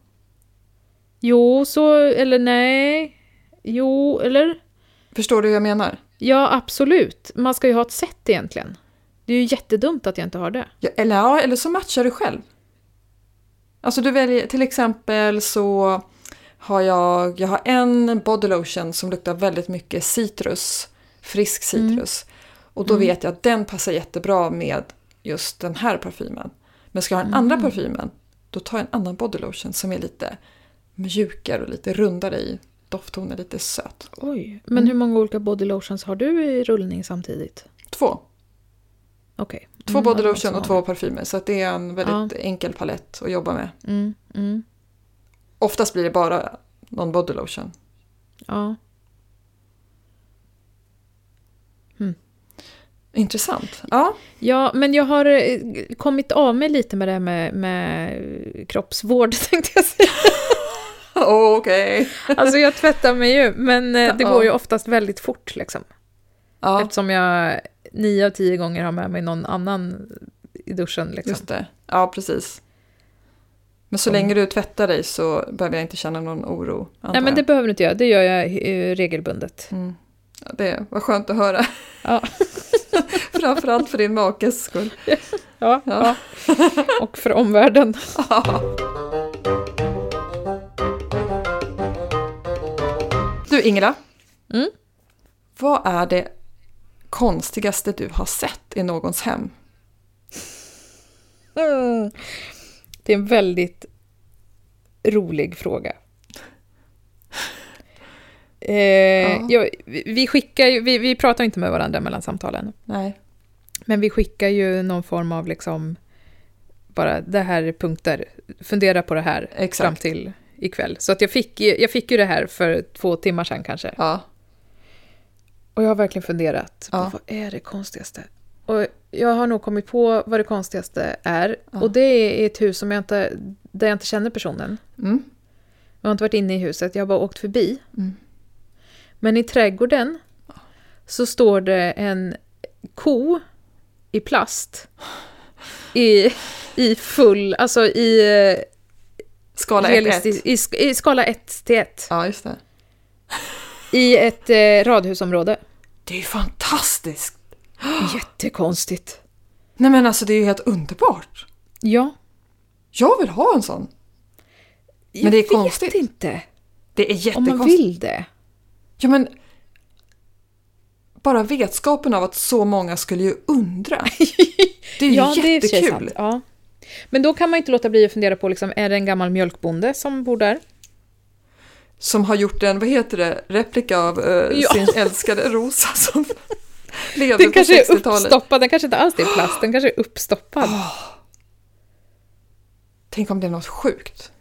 A: Jo, så, eller nej. Jo, eller?
B: Förstår du hur jag menar?
A: Ja, absolut. Man ska ju ha ett sätt egentligen. Det är ju jättedumt att jag inte har det.
B: Ja, eller, ja, eller så matchar du själv. Alltså du väljer, till exempel så har jag, jag har en bodylotion som luktar väldigt mycket citrus, frisk
A: Mm.
B: citrus. Och då vet jag att den passar jättebra med just den här parfymen. Men ska jag ha den andra
A: Mm.
B: parfymen, då tar jag en annan bodylotion som är lite mjukare och lite rundare i dofttonen, lite söt.
A: Oj. Men hur många olika bodylotions har du i rullning samtidigt?
B: Två.
A: Okej.
B: Två
A: Mm, det låter
B: bodylotion
A: som
B: och två parfymer, så att det är en väldigt enkel palett att jobba med.
A: vanligt. Mm, mm,
B: Oftast blir det bara någon bodylotion.
A: ja.
B: Intressant. Ja,
A: Ja, men jag har eh, kommit av mig lite med det här med, med eh, kroppsvård, tänkte jag säga.
B: okej.
A: Alltså jag tvättar mig ju, men eh, det
B: Ja.
A: går ju oftast väldigt fort liksom.
B: Ja,
A: Eftersom jag nio av tio gånger har med mig någon annan i duschen liksom.
B: just det. Ja, precis. Men så
A: Som-
B: länge du tvättar dig så behöver jag inte känna någon oro. antar
A: Nej, men det
B: jag.
A: behöver du inte göra. Det gör jag eh, regelbundet.
B: Mm. Ja, det var skönt att höra.
A: Ja.
B: Framförallt för din makes skull.
A: Ja, ja.
B: Ja.
A: Och för omvärlden.
B: Du Ingela.
A: Mm.
B: Vad är det konstigaste du har sett i någons hem?
A: Mm. Det är en väldigt rolig fråga. Eh,
B: Ja.
A: jag, vi, vi skickar ju, vi, vi pratar inte med varandra mellan samtalen.
B: Nej.
A: Men vi skickar ju någon form av liksom, bara det här är punkter, fundera på det här fram
B: Exakt.
A: till ikväll. Så att jag fick, ju- jag fick ju det här för två timmar sedan kanske.
B: Ja.
A: Och jag har verkligen funderat på
B: Ja.
A: vad är det konstigaste? Och jag har nog kommit på vad det konstigaste är. Och det är ett hus som jag inte, där jag inte känner personen.
B: Mm.
A: Jag har inte varit inne i huset, jag har bara åkt förbi. Men i trädgården så står det en ko i plast. I, i full, alltså i, eh,
B: Skala 1
A: realistisk- i, sk- i skala 1 till 1.
B: Ja, just det.
A: I ett eh, radhusområde.
B: Det är ju fantastiskt!
A: Jättekonstigt.
B: Nej men alltså det är ju helt underbart!
A: Ja.
B: Jag vill ha en sån! Men det är konstigt.
A: Jag vet inte.
B: Det är
A: Om
B: jättekonstigt.
A: man vill det.
B: Ja men... Bara vetskapen av att så många skulle ju undra. Det är ju
A: Ja, det är i och för sig
B: jättekul.
A: sant. Ja. Men då kan man ju inte låta bli att fundera på, liksom, är det en gammal mjölkbonde som bor där?
B: Som har gjort en, vad heter det, replika av eh,
A: Ja.
B: sin älskade Rosa som levde
A: Den
B: på
A: kanske är
B: 60-talet.
A: uppstoppad, den kanske inte alls är i plast, den kanske är uppstoppad.
B: Tänk om det är något sjukt.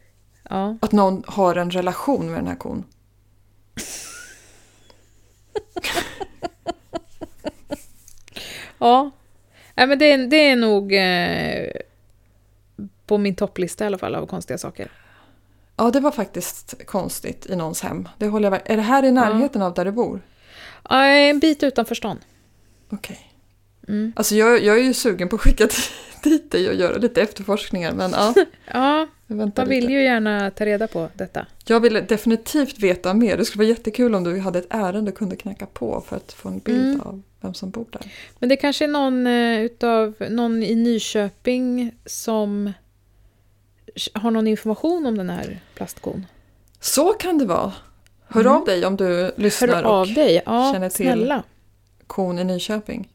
A: Ja.
B: Att någon har en relation med den här kon.
A: ja. Nej, men det, är, det är nog eh, på min topplista i alla fall av konstiga saker.
B: Ja, det var faktiskt konstigt i någons hem. Det håller jag med. Är det här i närheten av där du bor?
A: Ja, en bit utanför stan.
B: Okej. Alltså jag, jag är ju sugen på att skicka di- dit dig och göra lite efterforskningar men ja,
A: Ja,
B: jag väntar
A: man vill
B: lite.
A: ju gärna ta reda på detta.
B: Jag vill definitivt veta mer. Det skulle vara jättekul om du hade ett ärende och kunde knacka på för att få en bild
A: Mm.
B: av vem som bor där.
A: Men det kanske är någon, eh, utav, någon i Nyköping som har någon information om den här plastkon.
B: Så kan det vara. Hör av dig om du lyssnar
A: Mm. Hör av
B: och
A: dig, ja,
B: känner till.
A: snälla.
B: kon i Nyköping.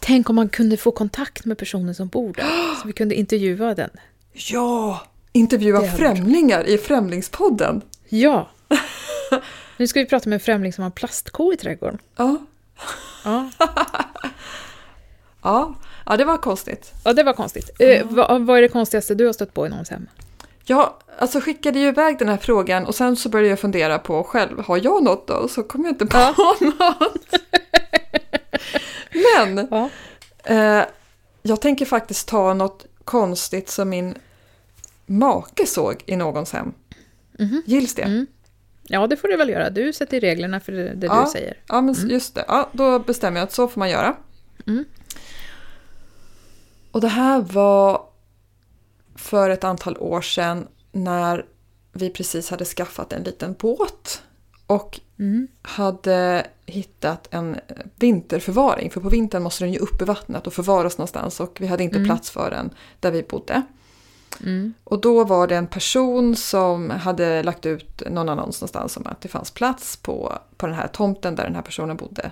A: Tänk om man kunde få kontakt med personen som bor där, så vi kunde intervjua den.
B: Ja! Intervjua
A: Det hade varit
B: främlingar i Främlingspodden.
A: Ja! Nu ska vi prata med en främling som har en plastko i trädgården.
B: Ja.
A: Ja,
B: Ja. ja, det var konstigt.
A: ja det var konstigt. Eh, vad, vad är det konstigaste du har stött på i någons hem?
B: Jag alltså skickade ju iväg den här frågan och sen så började jag fundera på själv, har jag något då? Och så kom jag inte på något. Men
A: Ja.
B: eh, jag tänker faktiskt ta något konstigt som min make såg i någons hem. Gills det?
A: ja, det får du väl göra. Du sätter reglerna för det, det
B: Ja.
A: du säger.
B: Ja, men just det. Ja, då bestämmer jag att så får man göra. Och det här var för ett antal år sedan när vi precis hade skaffat en liten båt. Och
A: Mm.
B: hade hittat en vinterförvaring. För på vintern måste den ju upp i vattnet och förvaras någonstans. Och vi hade inte
A: Mm.
B: plats för den där vi bodde.
A: Mm.
B: Och då var det en person som hade lagt ut någon annons någonstans om att det fanns plats på, på den här tomten där den här personen bodde.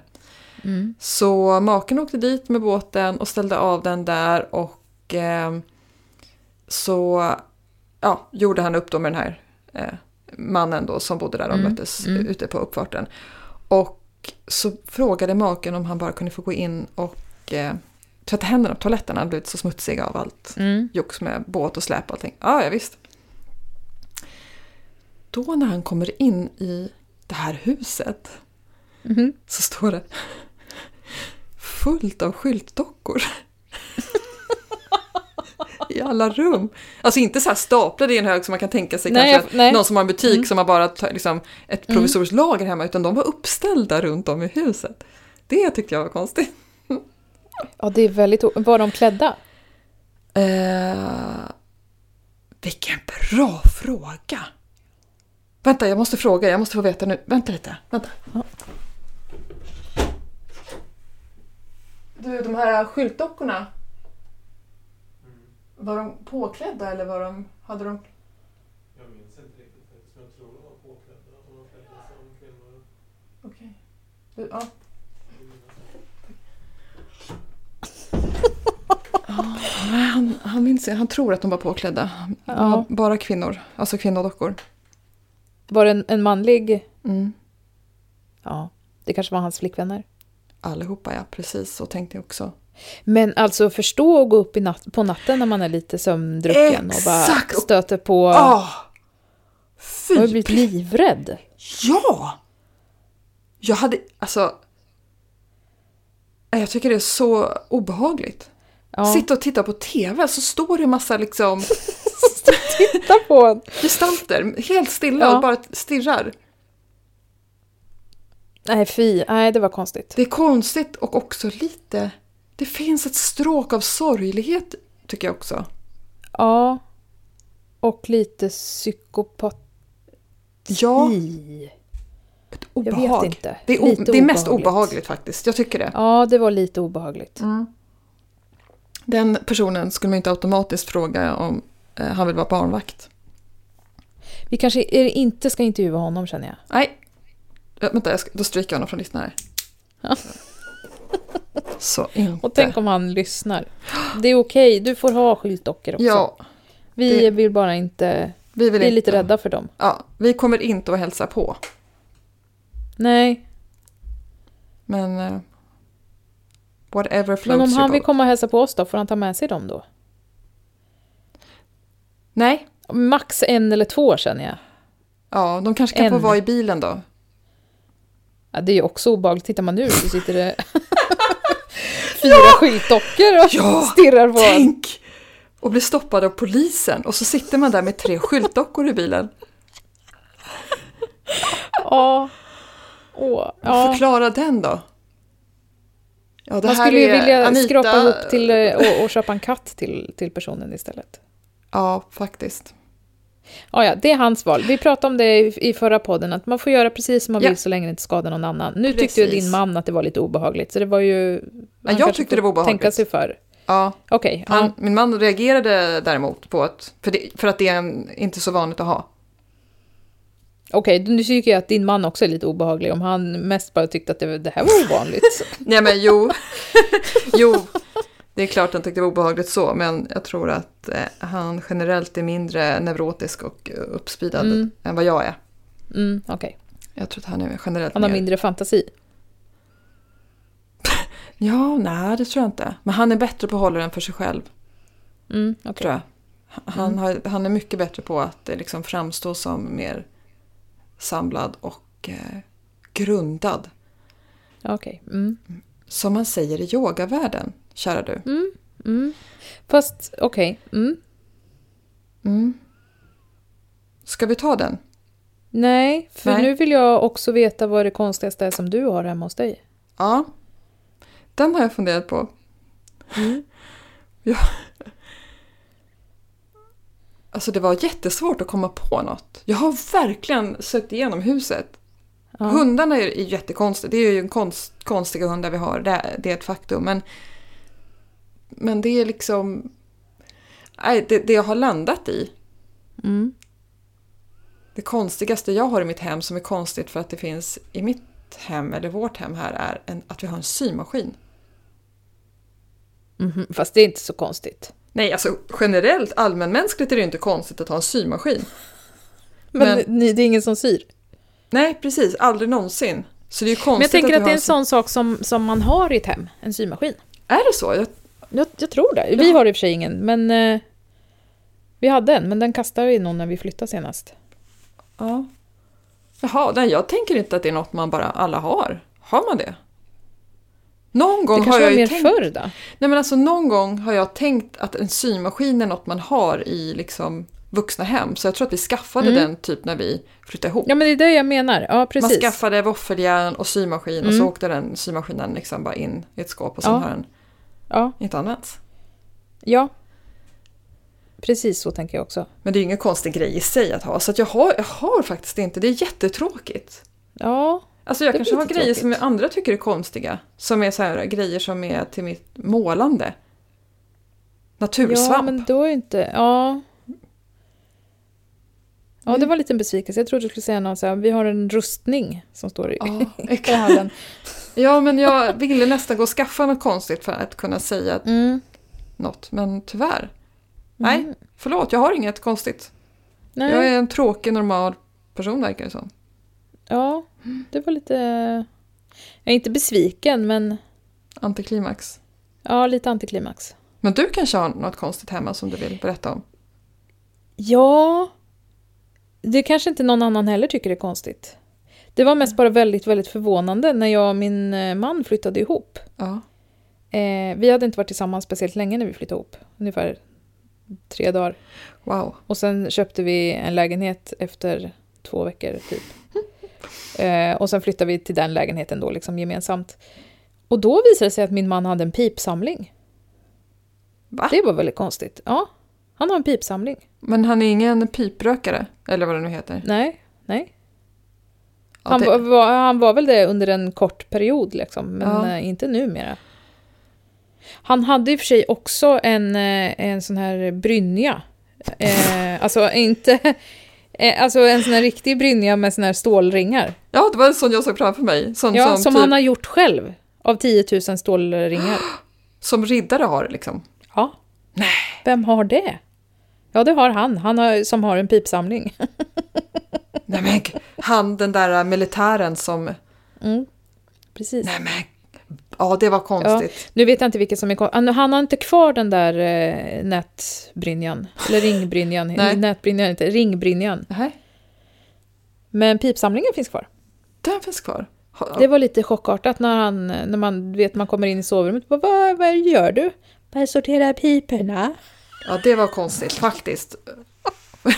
A: Mm.
B: Så maken åkte dit med båten och ställde av den där och eh, så ja, gjorde han upp då med den här eh, mannen då som bodde där och
A: Mm,
B: möttes
A: mm.
B: ute på uppfarten. Och så frågade maken om han bara kunde få gå in och eh, tvätta händerna på toaletten, han hade blivit så smutsig av allt
A: Mm.
B: jox med båt och släp och allting. Ja, ja visst. Då när han kommer in i det här huset
A: Mhm.
B: så står det fullt av skyltdockor. I alla rum. Alltså inte så här staplade i en hög som man kan tänka sig
A: Nej,
B: kanske att
A: jag- nej.
B: någon som har en butik
A: Mm.
B: som har bara tar- liksom, ett provisoriskt lager hemma utan de var uppställda runt om i huset. Det tyckte jag var konstigt.
A: Ja, det är väldigt... o- Var de klädda?
B: Eh, vilken bra fråga! Vänta, jag måste fråga, jag måste få veta nu. Vänta lite, vänta. Du, de här skyltdockorna.
D: Mm.
B: Var de påklädda eller var de... Hade de...
D: Jag minns inte riktigt faktiskt, men jag tror de var påklädda. De var klädda som kvinnor.
B: Okej. Du, Ja. Nej, Han, han minns Han tror att de var påklädda.
A: Ja.
B: Bara kvinnor. Alltså kvinnodockor.
A: Var det en, en manlig...
B: Mm.
A: Ja, det kanske var hans flickvänner.
B: Allihopa, ja. Precis, så tänkte jag också.
A: Men alltså förstå att gå upp i natt, på natten när man är lite sömndrucken och
B: Exakt.
A: bara stöter på...
B: Ah!
A: jag har ju
B: Fy!
A: blivit livrädd.
B: Ja! Jag hade... Alltså... Nej, Jag tycker det är så obehagligt.
A: Ja,
B: Sitta och titta på TV så står det en massa liksom
A: titta på en.
B: gestalter helt stilla
A: Ja.
B: och bara stirrar.
A: Nej, fy. Nej, det var konstigt.
B: Det är konstigt och också lite... Det finns ett stråk av sorglighet tycker jag också.
A: Ja. Och lite psykopati.
B: Ja, ett
A: Jag
B: obehag.
A: vet inte.
B: Det, är o-
A: Lite
B: det är mest obehagligt Mm. faktiskt, jag tycker det.
A: Ja, det var lite obehagligt.
B: Den personen skulle man ju inte automatiskt fråga om eh, han vill vara barnvakt.
A: Vi kanske är, inte ska intervjua honom känner jag.
B: Nej. Ja, Eh, Vänta, jag ska, då stryker jag honom från listan här. Så inte.
A: Och tänk om han lyssnar. Det är okej, du får ha skyltdockor också.
B: ja,
A: vi
B: det-
A: vill bara inte...
B: vi vill
A: Vi är
B: inte.
A: lite rädda för dem.
B: Ja, vi kommer inte att hälsa på.
A: Nej,
B: Men... eh, whatever floats
A: men om
B: your
A: han vill
B: boat.
A: komma och hälsa på oss då, får han ta med sig dem då?
B: Nej.
A: Max en eller två känner jag.
B: Ja, de kanske kan få
A: En.
B: vara i bilen då.
A: Ja, det är ju också obehagligt. Tittar man nu så sitter det fyra skyltdockor och
B: Ja!
A: stirrar på en.
B: Tänk! Och bli stoppad av polisen och så sitter man där med tre skyltdockor i bilen.
A: Ja. Åh, ja.
B: Förklara den då. Ja, det
A: Man
B: här
A: skulle ju
B: är
A: vilja
B: Anita-
A: skrapa ihop till, eh, och, och köpa en katt till, till personen istället.
B: Ja, faktiskt.
A: Ja, ja, det är hans val. Vi pratade om det i, i förra podden, att man får göra precis som man
B: Ja.
A: vill så länge det inte skadar någon annan. Nu tyckte ju
B: Precis.
A: din man att det var lite obehagligt, så det var ju... han
B: jag
A: kanske
B: tyckte
A: får
B: det var obehagligt.
A: Tänka sig för.
B: Ja,
A: Okej,
B: Han,
A: ja.
B: Min man reagerade däremot på att, för, det, för att det är en, inte så vanligt att ha.
A: Okej, nu tycker jag att din man också är lite obehaglig, om han mest bara tyckte att det, det här var ovanligt.
B: Nej men jo, jo, det är klart han tyckte det var obehagligt så, men jag tror att eh, han generellt är mindre neurotisk och eh, uppspidad
A: Mm.
B: än vad jag är.
A: Mm, Okej,
B: Jag tror att han är generellt
A: han har
B: mer-
A: mindre fantasi.
B: Ja, nej det tror jag inte. Men han är bättre på att hålla den för sig själv,
A: Mm, okej.
B: tror jag. Han, har, han är mycket bättre på att eh, liksom framstå som mer samlad och eh, grundad.
A: Okej, mm,
B: Som man säger i yogavärlden, kära du.
A: mm. Fast, okej. Mm.
B: Mm. Ska vi ta den?
A: Nej, för
B: Nej.
A: nu vill jag också veta vad det konstigaste är som du har hemma hos dig.
B: Ja. Den har jag funderat på. Ja. Alltså det var jättesvårt att komma på något. Jag har verkligen sökt igenom huset.
A: Ja.
B: Hundarna är ju jättekonstiga. Det är ju en konst, konstiga hundar vi har. Det, är- det är ett faktum. Men, men det är liksom... Nej, det, det jag har landat i.
A: Mm.
B: Det konstigaste jag har i mitt hem som är konstigt för att det finns i mitt hem eller vårt hem här är en, att vi har en symaskin.
A: Mhm, Fast det är inte så konstigt.
B: Nej, alltså generellt allmänmänskligt är det ju inte konstigt att ha en symaskin.
A: Men,
B: Men-
A: ni, det är ingen som syr.
B: Nej, precis. Aldrig någonsin. Så det är ju konstigt
A: Men jag tänker
B: vi
A: att det
B: har
A: är en sån sak som, som man har i ett hem, en symaskin.
B: Är det så? Jag,
A: Jag, jag tror det. Vi har i och för sig ingen, men eh, vi hade en, men den kastade vi någon när vi flyttade senast.
B: ja. Jaha, nej jag tänker inte att det är något man bara alla har. Har man det? Någon
A: Det
B: gång har
A: kanske
B: jag
A: var
B: ju
A: mer
B: tänkt...
A: förr då?
B: Nej men alltså någon gång har jag tänkt att en symaskin är något man har i liksom vuxna hem. Så jag tror att vi skaffade
A: Mm.
B: den typ när vi flyttade ihop.
A: Ja, men det är det jag menar. Ja, precis.
B: Man skaffade våffeljärn och symaskin och så
A: Mm.
B: åkte den symaskinen liksom bara in i ett skåp och sen
A: Ja.
B: har den
A: Ja,
B: inte använts.
A: ja. Precis så tänker jag också.
B: Men det är ju ingen konstig grej i sig att ha. Så att jag, har, jag har faktiskt inte, det är jättetråkigt.
A: Ja,
B: Alltså jag
A: Det
B: kanske
A: blir
B: har
A: lite
B: grejer som
A: tråkigt.
B: andra tycker är konstiga. Som är så här, äh, grejer som är till mitt målande. Natursvamp.
A: ja men då är inte... Ja. Ja, det
B: Mm.
A: var en liten besvikelse. Jag trodde du skulle säga något så här, vi har en rustning som står i,
B: Ja,
A: i
B: exakt.
A: hallen.
B: ja, men jag ville nästan gå och skaffa något konstigt för att kunna säga
A: Mm.
B: något. Men tyvärr. Nej, förlåt, jag har inget konstigt.
A: Nej.
B: Jag är en tråkig, normal person verkar det som.
A: Ja, det var lite... Jag är inte besviken, men
B: Antiklimax.
A: ja, lite antiklimax.
B: Men du kanske har något konstigt hemma som du vill berätta om?
A: Ja, det kanske inte någon annan heller tycker är konstigt. Det var mest bara väldigt, väldigt förvånande när jag och min eh, man flyttade ihop.
B: Ja.
A: Eh, vi hade inte varit tillsammans speciellt länge när vi flyttade ihop, ungefär tre dagar.
B: Wow.
A: Och sen köpte vi en lägenhet efter två veckor typ. Eh, och sen flyttade vi till den lägenheten då liksom gemensamt. Och då visade det sig att min man hade en pipsamling.
B: Va?
A: Det var väldigt konstigt. Ja, han har en pipsamling.
B: Men han är ingen piprökare, eller vad det nu heter.
A: Nej, nej.
B: Ja,
A: han,
B: det-
A: var, var, han var väl det under en kort period liksom, men
B: Ja.
A: eh, inte numera. Han hade i och för sig också en, eh, en sån här brynja. Eh, alltså inte... Eh, alltså en sån här riktig brynja med såna här stålringar.
B: Ja, det var en sån jag såg framför mig. Sån
A: Ja,
B: som,
A: som
B: typ,
A: han har gjort själv. Av 10 000 stålringar.
B: som riddare har liksom.
A: Ja. Vem har det? Ja, det har han. Han har, som har en pipsamling.
B: Nej men g- han den där äh, militären som...
A: Mm. Precis.
B: Nej men... Ja, det var konstigt.
A: Nu vet jag inte vilket som är kvar. Han, han har inte kvar den där eh, nätbrynjan. Eller ringbrynjan.
B: Nej.
A: Nätbrynjan inte, ringbrynjan.
B: Nej,
A: Men pipsamlingen finns kvar.
B: den finns kvar. Ha-
A: Det var lite chockartat när, han, när man, du vet, man kommer in i sovrummet. Vad, vad, vad gör du? Jag sorterar piporna.
B: Ja, det var konstigt faktiskt.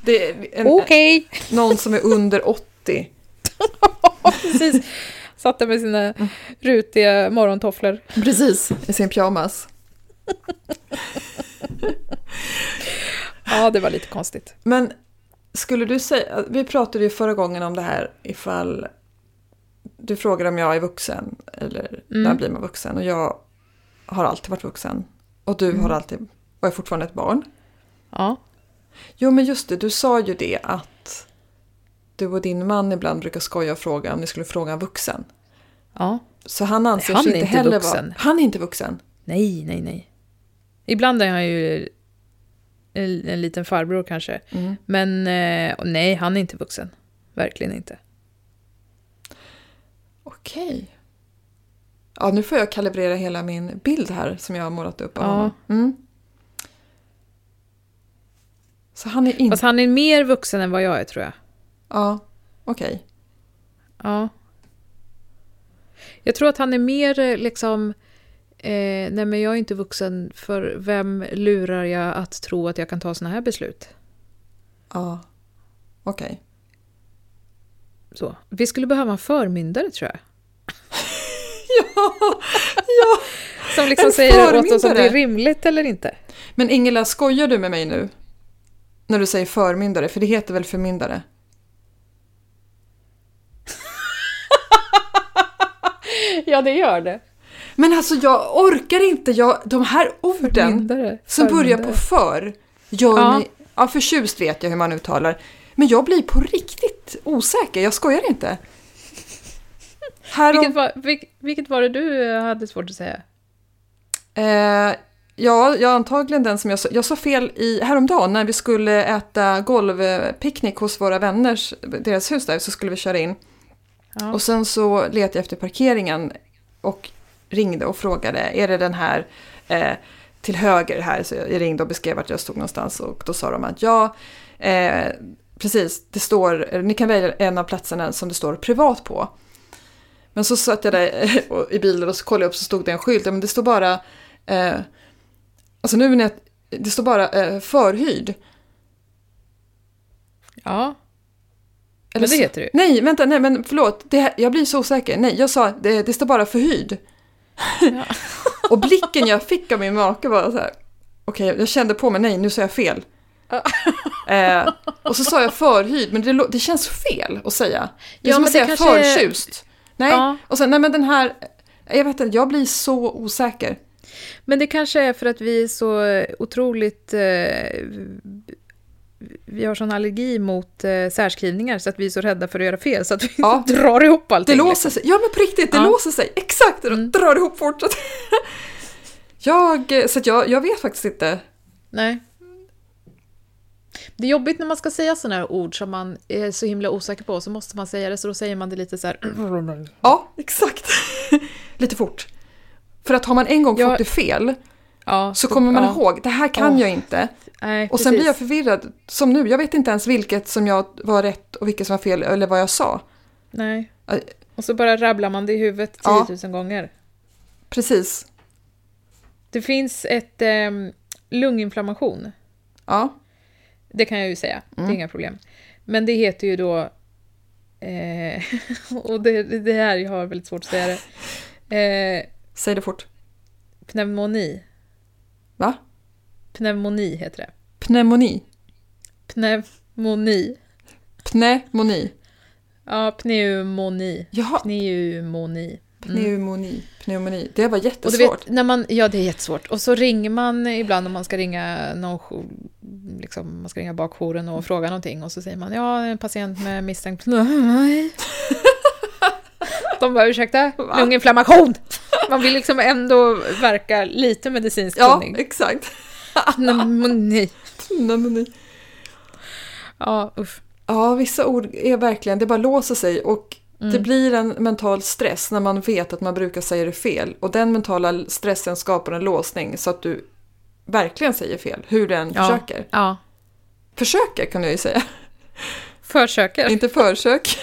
B: det är en,
A: Okej.
B: någon som är under 80.
A: Precis. Satt där med sina
B: Mm.
A: rutiga morgontofflor.
B: Precis. I sin pyjamas.
A: Ja, det var lite konstigt.
B: Men skulle du säga... Vi pratade ju förra gången om det här ifall... Du frågade om jag är vuxen eller när
A: Mm.
B: blir man vuxen? Och jag har alltid varit vuxen. Och du
A: Mm.
B: har alltid... Och är fortfarande ett barn.
A: Ja.
B: Jo men just det, du sa ju det att du och din man ibland brukar skoja och fråga om ni skulle fråga en vuxen.
A: ja.
B: Så han anser
A: Han
B: sig
A: är
B: inte
A: inte
B: heller
A: vuxen.
B: vara... Han är inte vuxen.
A: Nej, nej, nej. Ibland är han ju eh, en, en liten farbror kanske.
B: Mm.
A: Men eh, och nej, han är inte vuxen. Verkligen inte.
B: Okej. Ja, nu får jag kalibrera hela min bild här som jag har målat upp av
A: Ja.
B: honom. Mm. Så han är inte...
A: Fast han är mer vuxen än vad jag är tror jag.
B: Ja, okej.
A: Ja. Jag tror att han är mer eh, liksom... Eh, nej, men jag är inte vuxen, för vem lurar jag att tro att jag kan ta såna här beslut?
B: Ja, okej.
A: Så. Vi skulle behöva en förmyndare tror jag.
B: Ja, ja.
A: Som liksom
B: En
A: säger åt oss om det
B: förmyndare?
A: är rimligt eller inte.
B: Men Ingela, skojar du med mig nu? När du säger förmyndare, för det heter väl förmyndare?
A: ja, det gör det.
B: Men alltså jag orkar inte, jag, de här orden
A: Förmyndare.
B: som börjar på
A: Förmyndare.
B: för gör
A: Ja.
B: mig... Ja, förtjust vet jag hur man uttalar. Men jag blir på riktigt osäker, jag skojar inte. Härom,
A: Vilket var, vilk, vilket var det du eh, hade svårt att säga?
B: eh, ja, jag antagligen den som jag sa, jag sa fel i häromdagen när vi skulle äta golvpicknick hos våra vänners, deras hus där, så skulle vi köra in.
A: Ja.
B: Och sen så letade jag efter parkeringen och ringde och frågade, är det den här eh, till höger här? Så jag ringde och beskrev vart jag stod någonstans och då sa de att ja, eh, precis, det står, ni kan välja en av platserna som det står privat på. Men så satt jag där eh, och- i bilen och så kollade jag upp så stod det en skylt, Ja, men det står bara, eh, alltså nu när jag, det står bara eh, förhyrd.
A: ja.
B: Eller
A: Men det
B: så-
A: heter det ju.
B: Nej, vänta, nej men förlåt. Det, här- jag blir så osäker. Nej, jag sa det, det står bara förhyrd. och blicken jag fick av min make var så här. Okej, jag kände på mig, nej nu sa jag fel. eh, och så sa jag förhyrd, men det, lå- det känns fel att säga. Det är
A: Ja,
B: som
A: men det
B: att säga
A: kanske är-
B: förtjust. Nej,
A: Ja.
B: och sen nej men den här, jag vet inte, jag blir så osäker.
A: Men det kanske är för att vi är så otroligt... Eh, vi har sån allergi mot eh, särskrivningar så att vi är så rädda för att göra fel så att vi
B: Ja.
A: drar ihop
B: Det
A: allting.
B: låser sig, ja men på riktigt, det
A: Ja. Mm.
B: låser sig. Exakt, det drar ihop fort. så att- jag, så att jag, jag vet faktiskt inte.
A: Nej. Det är jobbigt när man ska säga sådana här ord som man är så himla osäker på, så måste man säga det, så då säger man det lite så här...
B: Ja, exakt. Lite fort. För att har man en gång
A: Ja.
B: fått det fel
A: Ja,
B: så kommer man
A: ja.
B: ihåg, det här kan
A: Åh.
B: jag inte.
A: Nej,
B: Och sen blir jag
A: precis.
B: förvirrad, som nu, jag vet inte ens vilket som jag var rätt och vilket som var fel eller vad jag sa.
A: Nej.
B: Aj.
A: Och så bara rabblar man det i huvudet
B: Ja.
A: 10 000 gånger.
B: Precis,
A: Det finns ett eh, lunginflammation.
B: ja.
A: Det kan jag ju säga, det är inga problem. Men det heter ju då... Eh, och det, det här jag har väldigt svårt att säga det. Eh,
B: Säg det fort.
A: pneumoni.
B: Va?
A: Pneumoni heter det.
B: Pneumoni.
A: Pneumoni.
B: Pneumoni.
A: Ja, pneumoni.
B: Jaha,
A: Pneumoni.
B: pneumoni. Pneumoni. Det var
A: Och du
B: jättesvårt.
A: vet, när man, ja, det är jättesvårt. Och så ringer man ibland om man ska ringa någon, jour- liksom, man ska ringa bakjouren och fråga någonting och så säger man ja, en patient med misstänkt pneumoni. De bara ursäkta, lunginflammation! Man vill liksom ändå verka lite medicinskt
B: Ja,
A: kunnig.
B: exakt.
A: Pneumoni.
B: Pneumoni.
A: Ja, uff.
B: Ja, vissa ord är verkligen, det bara låser sig och
A: Mm.
B: det blir en mental stress när man vet att man brukar säga det fel. Och den mentala stressen skapar en låsning så att du verkligen säger fel, hur den
A: Ja.
B: försöker.
A: Ja.
B: Försöker kan jag ju säga,
A: Försöker.
B: inte försök.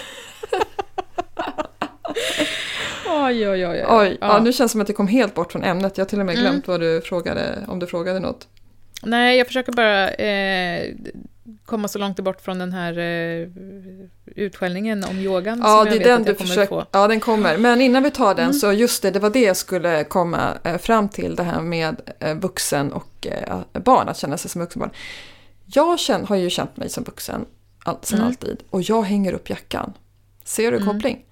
A: Oj, oj, oj. oj.
B: Oj, ja.
A: Ja. Mm.
B: nu känns det som att det kom helt bort från ämnet. Jag har till och med glömt vad du frågade, om du frågade något.
A: Nej, jag försöker bara eh, komma så långt bort från den här eh, utskällningen om yogan
B: Ja,
A: Mm, som
B: det
A: jag vet
B: är den
A: att
B: du
A: jag kommer
B: försöker.
A: få. Mm.
B: Ja, den kommer. Men innan vi tar den så just det, det var det jag skulle komma eh, fram till, det här med eh, vuxen och eh, barn, att känna sig som vuxenbarn. Jag kän, har ju känt mig som vuxen all, sen
A: Mm.
B: alltid och jag hänger upp jackan. Ser du koppling?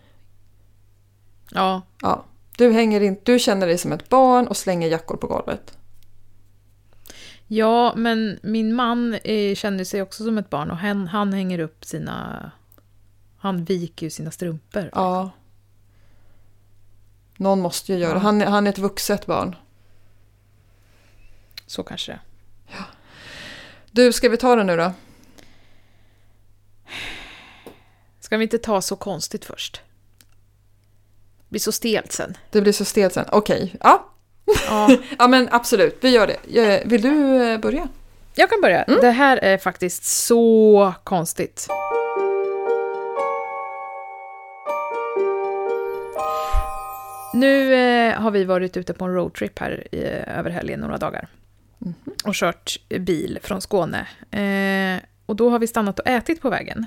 A: Ja,
B: Ja. Du, hänger in, du känner dig som ett barn och slänger jackor på golvet.
A: ja, men min man eh, känner sig också som ett barn och han, han hänger upp sina... Han viker ju sina strumpor.
B: Ja. Någon måste ju göra det. Han, är- han är ett vuxet barn.
A: Så kanske det är.
B: Du, ska vi ta den nu då?
A: Ska vi inte ta så konstigt först? Det blir så stelt sen.
B: Det blir så stelt sen. Okej, ja.
A: Ja,
B: Ja men absolut, vi gör det. Eh, Vill du eh, börja?
A: jag kan börja. Det här är faktiskt så konstigt. Nu eh, har vi varit ute på en roadtrip här i, över helgen några dagar. Och kört bil från Skåne. Eh, och då har vi stannat och ätit på vägen.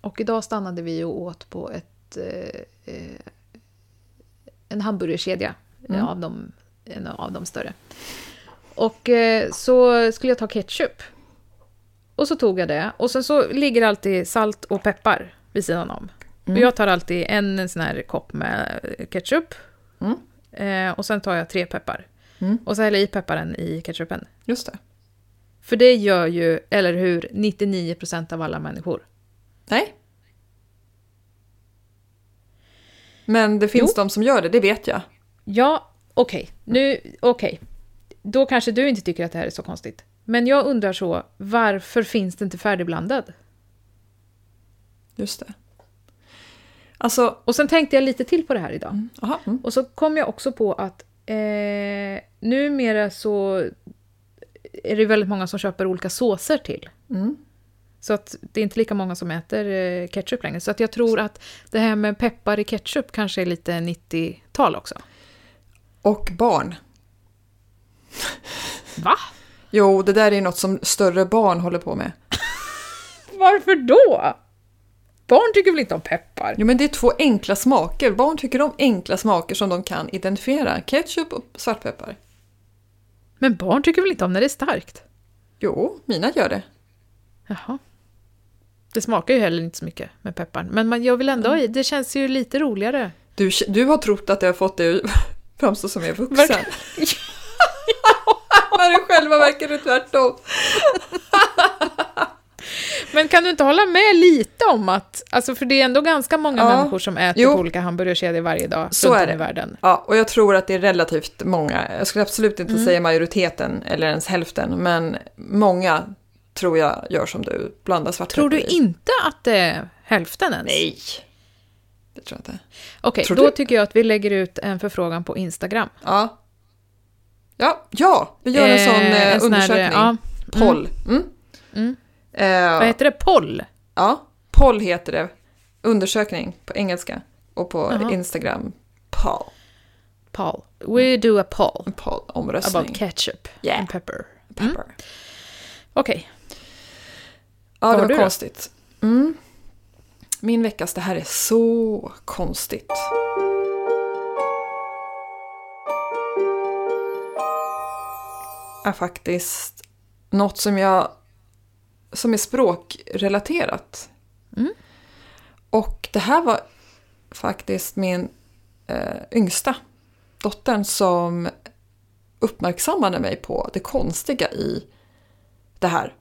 A: Och idag stannade vi och åt på ett, eh, eh, en hamburgerkedja. eh, Av de, en av de större. Och eh, så skulle jag ta ketchup. Och så tog jag det. Och sen så ligger alltid salt
B: Mm.
A: och peppar vid sidan om. Och jag tar alltid en sån här kopp med eh, ketchup
B: Mm.
A: Eh, och sen tar jag tre peppar.
B: Mm.
A: Och så häller jag i pepparen i ketchupen.
B: Just det.
A: För det gör ju, eller hur, 99% av alla människor.
B: Nej. Men det finns de som gör det, det vet jag.
A: Ja, okej. Nu, okej. Då kanske du inte tycker att det här är så konstigt. Men jag undrar så, varför finns det inte färdigblandad?
B: Just det. Alltså,
A: Och sen tänkte jag lite till på det här idag.
B: aha. Mm.
A: Och så kom jag också på att eh, numera så är det väldigt många som köper olika såser till.
B: Mm.
A: Så att det är inte lika många som äter eh, ketchup längre. Så att jag tror att det här med peppar i ketchup kanske är lite 90-tal också.
B: Och barn.
A: Va?
B: Jo, det där är något som större barn håller på med.
A: Varför då? Barn tycker väl inte om peppar?
B: Jo, men det är två enkla smaker. Barn tycker om enkla smaker som de kan identifiera. Ketchup och svartpeppar.
A: Men barn tycker väl inte om när det är starkt?
B: Jo, mina gör det.
A: Jaha. Det smakar ju heller inte så mycket med pepparn. Men man, jag vill ändå ha i. Det känns ju lite roligare.
B: Du, du har trott att jag har fått dig att framstå som mer vuxen. När det själva verkar det tvärtom.
A: Men kan du inte hålla med lite om att... Alltså för det är ändå ganska många
B: Ja.
A: människor som äter
B: Jo.
A: på olika hamburgerkedjor varje dag
B: Så
A: runt
B: är
A: om i
B: det.
A: världen.
B: Ja, och jag tror att det är relativt många. Jag skulle absolut
A: Mm.
B: inte säga majoriteten eller ens hälften, men många tror jag gör som du, blandar svartpeppar
A: Tror du
B: i.
A: inte att det är hälften ens?
B: Nej, det tror jag inte.
A: Okej,
B: Tror
A: då
B: du?
A: tycker jag att vi lägger ut en förfrågan på Instagram.
B: Ja, ja, ja vi gör en
A: Eh,
B: sån eh,
A: en sån här,
B: undersökning.
A: ja.
B: Poll. Mm.
A: Mm.
B: Eh,
A: Vad heter det? Poll?
B: Ja, poll heter det. Undersökning på engelska och på
A: Jaha.
B: Instagram. Poll.
A: Poll. We do a poll
B: En poll, omröstning.
A: about Mm. ketchup
B: Yeah.
A: and pepper.
B: Pepper.
A: Okej.
B: Ja,
A: Vad
B: det
A: har
B: var
A: du då?
B: konstigt. Mm. Min veckas det här är så konstigt. Är faktiskt något som jag som är språkrelaterat. Och det här var faktiskt min eh, yngsta dottern som uppmärksammade mig på det konstiga i det här.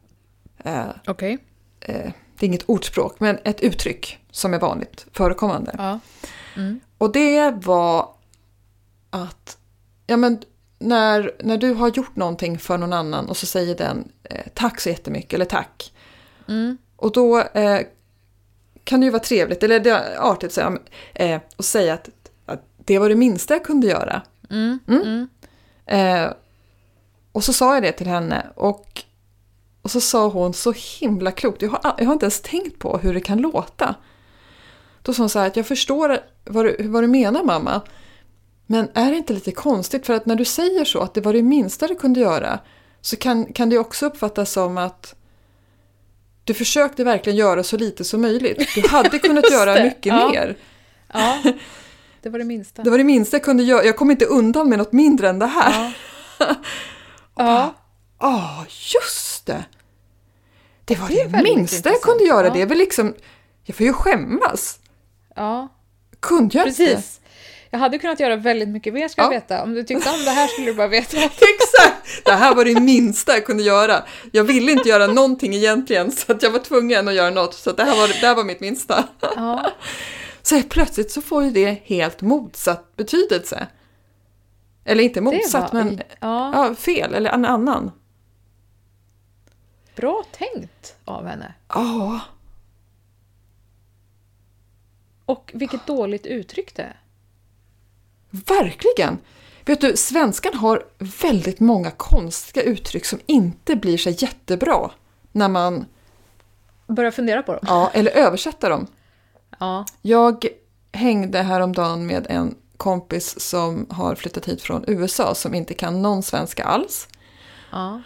B: Eh,
A: Okej.
B: eh, det är inget ordspråk, men ett uttryck som är vanligt förekommande.
A: Ja. Mm.
B: Och det var att ja, men när, när du har gjort någonting för någon annan och så säger den eh, tack så jättemycket eller tack.
A: Mm.
B: Och då eh, kan det ju vara trevligt, eller det är artigt att säga, ja, men, eh, och säga att, att det var det minsta jag kunde göra.
A: Mm.
B: Mm.
A: Mm.
B: Eh, och så sa jag det till henne och, och så sa hon så himla klokt, jag har, a- jag har inte ens tänkt på hur det kan låta. Då sa hon så här att jag förstår vad du, vad du menar mamma, men är det inte lite konstigt för att när du säger så att det var det minsta du kunde göra så kan, kan det också uppfattas som att du försökte verkligen göra så lite som möjligt. Du hade kunnat göra
A: det,
B: mycket
A: ja.
B: mer.
A: ja. Det var det minsta.
B: Det var det minsta jag kunde göra. Jag kom inte undan med något mindre än det här.
A: Ja. ja.
B: Ja, just det! Det var det,
A: väldigt
B: minsta jag
A: intressant.
B: kunde göra.
A: Ja.
B: Det är väl liksom... Jag får ju skämmas.
A: ja.
B: Kunde jag inte?
A: Precis. Jag hade kunnat göra väldigt mycket mer ska jag
B: Ja.
A: veta. Om du tyckte om det här skulle du bara veta.
B: Exakt! Det här var det minsta jag kunde göra. Jag ville inte göra någonting egentligen, så att jag var tvungen att göra något. Så att det, här var, det här var mitt minsta.
A: Ja.
B: Så helt plötsligt så får ju det helt motsatt betydelse. Eller inte motsatt,
A: var-
B: men
A: ja,
B: ja, fel eller en annan.
A: bra tänkt av henne.
B: Ja,
A: Och vilket dåligt uttryck det är.
B: Verkligen! Vet du, svenskan har väldigt många konstiga uttryck som inte blir så jättebra när man,
A: Börja fundera på dem.
B: ja, eller översätter dem.
A: Ja.
B: Jag hängde häromdagen med en kompis som har flyttat hit från USA som inte kan någon svenska alls.
A: ja.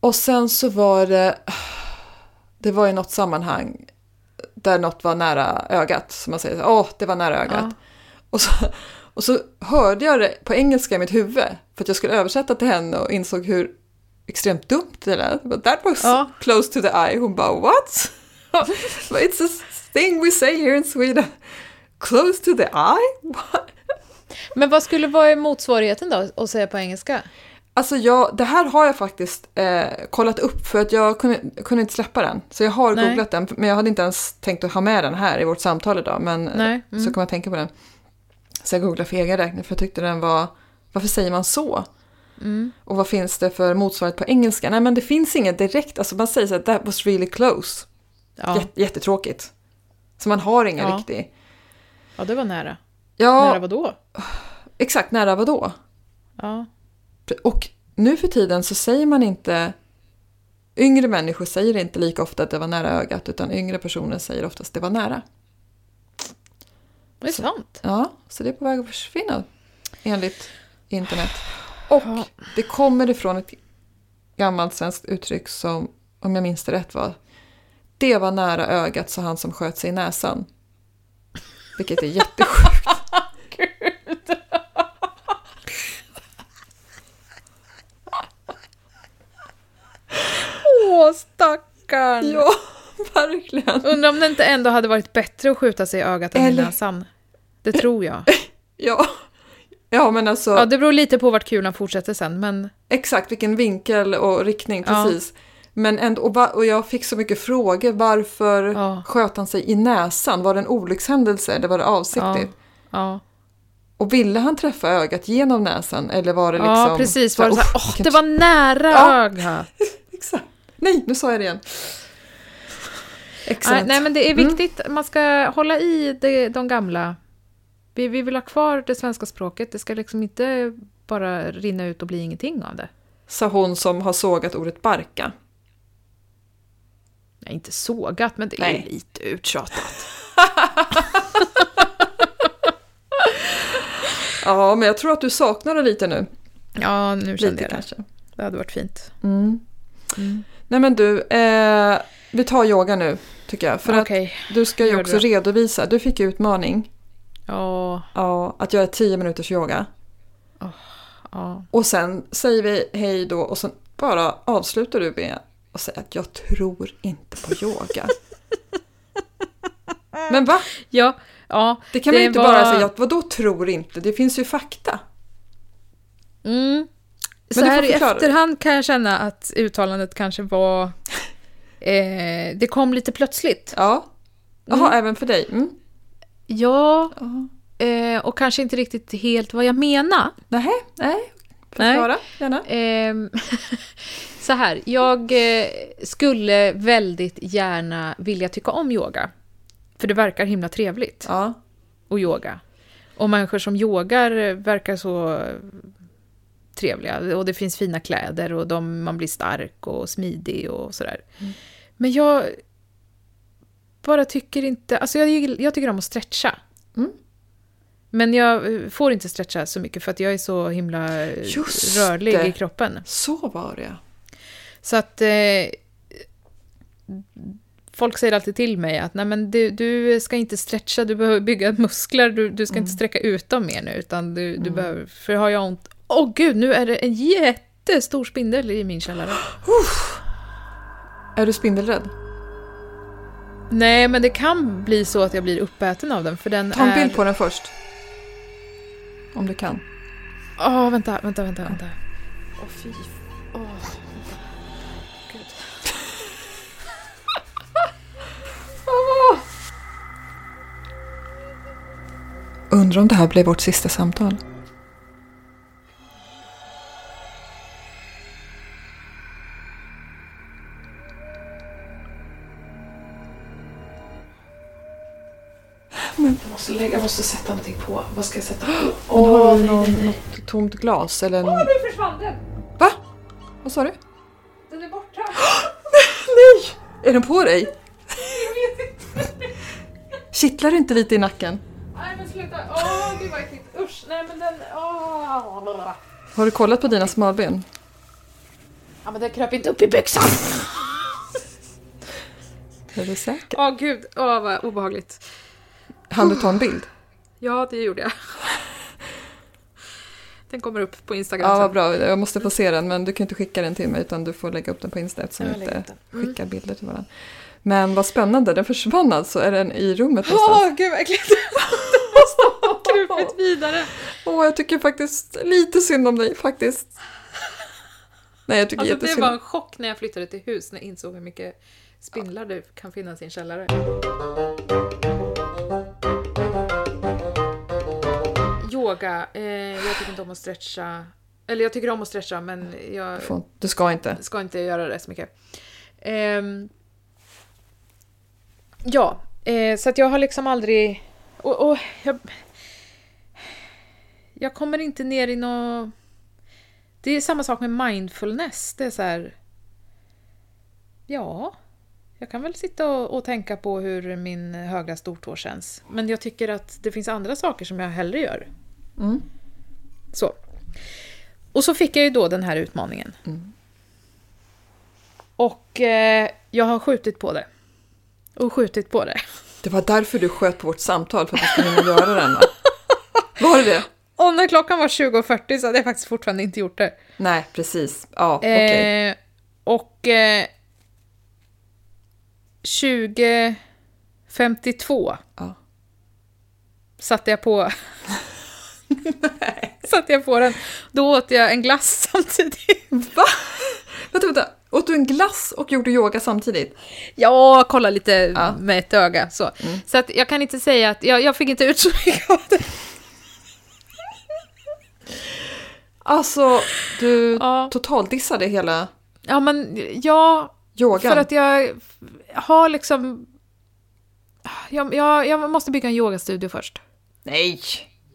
B: Och sen så var det, det var i något sammanhang där något var nära ögat, som man säger, så, åh, det var nära ögat.
A: Ja.
B: Och, så, och så hörde jag det på engelska i mitt huvud, för att jag skulle översätta till henne och insåg hur extremt dumt det lät. But that was
A: Ja.
B: close to the eye. Hon bara, what? But it's a thing we say here in Sweden. Close to the eye? What?
A: Men vad skulle vara motsvarigheten då, att säga på engelska?
B: Alltså jag, det här har jag faktiskt eh, kollat upp för att jag kunde, kunde inte släppa den. Så jag har
A: Nej.
B: googlat den, men jag hade inte ens tänkt att ha med den här i vårt samtal idag. Men eh,
A: Nej.
B: så
A: Mm.
B: kom jag att tänka på den. Så jag googlade för egen räkning för jag tyckte den var, varför säger man så?
A: Mm.
B: Och vad finns det för motsvarighet på engelska? Nej men det finns inget direkt, alltså man säger så här, that was really close.
A: Ja.
B: Jät- jättetråkigt. Så man har ingen
A: Ja.
B: riktig.
A: ja, det var nära.
B: Ja,
A: Nära vadå?
B: exakt, nära vadå?
A: Ja.
B: Och nu för tiden så säger man inte... Yngre människor säger inte lika ofta att det var nära ögat utan yngre personer säger oftast att det var nära.
A: Det är
B: Så-
A: sant.
B: Ja, så det är på väg att försvinna enligt internet. Och det kommer ifrån ett gammalt svenskt uttryck som, om jag minns det rätt, var Det var nära ögat, sa han som sköt sig i näsan. Vilket är jättesjukt.
A: Åh, stackarn!
B: ja, verkligen.
A: Undrar om det inte ändå hade varit bättre att skjuta sig i ögat än
B: Eller-
A: i näsan. Det tror jag.
B: Ja, ja men alltså...
A: Ja, det beror lite på vart kulan fortsätter sen, men...
B: Exakt, vilken vinkel och riktning,
A: Ja.
B: precis. Men ändå, och, va, och jag fick så mycket frågor, varför
A: Ja.
B: sköt han sig i näsan? Var det en olyckshändelse eller var det
A: Ja,
B: avsiktligt?
A: ja.
B: Och ville han träffa ögat genom näsan eller var det liksom...
A: ja precis. Var det, så här,
B: "Uff,
A: åh,
B: vilken
A: det var nära
B: Ja.
A: ögat.
B: Exakt. Nej, nu sa jag det igen.
A: Nej,
B: Exakt. Mm.
A: nej, men det är viktigt. Man ska hålla i det, de gamla. Vi, vi vill ha kvar det svenska språket. Det ska liksom inte bara rinna ut och bli ingenting av det.
B: Sa hon som har sågat ordet barka.
A: Nej, inte sågat, men det är
B: Nej.
A: ju lite uttjatat.
B: Ja, men jag tror att du saknar det lite nu.
A: Ja, nu kände
B: Lite
A: jag det.
B: kanske.
A: Det hade varit fint.
B: Mm. Nej men du, eh, vi tar yoga nu tycker jag. För att
A: Okej.
B: Du ska ju
A: Gör
B: också
A: det.
B: redovisa. Du fick ju utmaning
A: Ja,
B: ja, att göra 10 minuters yoga.
A: ja.
B: Och sen säger vi hej då och sen bara avslutar du med att säga att jag tror inte på yoga. Men va?
A: Ja, ja.
B: Det kan man ju inte bara säga att vadå tror inte? Det finns ju fakta.
A: Mm. Så
B: du får
A: här i
B: förklara.
A: efterhand kan jag känna att uttalandet kanske var... Eh, det kom lite plötsligt.
B: Ja. Jaha, även för dig? Mm.
A: Ja,
B: Ja.
A: eh, och kanske inte riktigt helt vad jag menar.
B: Nej, nej.
A: Nej.
B: Förklara gärna.
A: Ehm, så här, jag eh, skulle väldigt gärna vilja tycka om yoga. För det verkar himla trevligt
B: Ja.
A: att yoga. Och människor som yogar eh, verkar så eh, trevliga. Och det finns fina kläder och de, man blir stark och smidig och sådär.
B: Mm.
A: Men jag bara tycker inte... Alltså jag, gill- jag tycker om att stretcha.
B: Mm.
A: Men jag eh, får inte stretcha så mycket för att jag är så himla eh,
B: Just
A: rörlig
B: det.
A: i kroppen.
B: Så var det
A: Så att eh, folk säger alltid till mig att Nej, men du, du ska inte stretcha, du behöver bygga muskler, du, du ska inte
C: Mm.
A: sträcka ut dem mer nu. Utan du, du behöver, för har jag ont, åh gud, nu är det en jättestor spindel i min källare.
B: Är du spindelrädd?
A: Nej, men det kan bli så att jag blir uppäten av den, för den
B: Ta en
A: är...
B: bild på den först. Om du kan.
A: Åh, vänta, vänta, vänta, vänta.
B: Åh fy. Undrar om det här blev vårt sista samtal.
C: Jag måste lägga, jag måste sätta någonting på. Vad ska jag sätta?
B: Åh, har du någon, något tomt glas eller... Åh, nu försvann den! Va? Vad sa du? Den är borta. Nej! Är den på dig? Jag vet inte. Kittlar det inte lite i nacken?
A: Nej, men sluta. Åh, gud vad äckligt. Usch, nej men den... Åh.
B: Har du kollat på dina smalben?
C: Ja, men den kröp inte upp i byxan.
B: Är du säker?
A: Åh, gud. Åh, vad obehagligt.
B: Hann du ta en bild?
A: Ja, det gjorde jag. Den kommer upp på Instagram
B: Ja, vad
A: sen.
B: bra. Jag måste få se den, men du kan inte skicka den till mig utan du får lägga upp den på Insta eftersom vi
A: Jag lägger
B: inte
A: upp den.
B: skickar bilder till varandra. Men vad spännande, den försvann alltså. Är den i rummet någonstans?
A: Åh, gud vad äckligt! Den måste ha krupit Ett vidare.
B: Åh, jag tycker faktiskt lite synd om dig faktiskt. Nej, jag tycker
A: Alltså, det
B: jättesynd.
A: var en chock när jag flyttade till hus när jag insåg hur mycket spindlar det kan finnas i en källare. Yoga. Eh, jag tycker inte om att stretcha. Eller jag tycker om att stretcha men jag
B: Du får- Du ska inte.
A: ska inte göra det så mycket. Ehm, ja, eh, så att jag har liksom aldrig... Och, och jag, jag kommer inte ner i något... Det är samma sak med mindfulness. Det är så här... Ja, jag kan väl sitta och, och tänka på hur min högra stortå känns. Men jag tycker att det finns andra saker som jag hellre gör.
B: Mm.
A: Så. Och så fick jag ju då den här utmaningen. Och eh, jag har skjutit på det. Och skjutit på det.
B: Det var därför du sköt på vårt samtal, för att du skulle hinna göra den va? Var det det?
A: Och när klockan var 20.40 så hade jag faktiskt fortfarande inte gjort det.
B: Nej, precis. Ja, okej.
A: Eh, och eh, 20.52
B: Ja.
A: satte jag på... satte jag på den. Då åt jag en glass samtidigt.
B: Va? Vänta, vänta. Åt du en glass och gjorde yoga samtidigt?
A: Ja, kolla lite
B: Ja.
A: med ett öga. Så, så att jag kan inte säga att jag, jag fick inte ut så mycket av det.
B: Alltså, du
A: Ja.
B: totaldissade hela
A: Ja, men ja,
B: yogan.
A: för att jag har liksom... Jag, jag, jag måste bygga en yogastudio först.
B: Nej!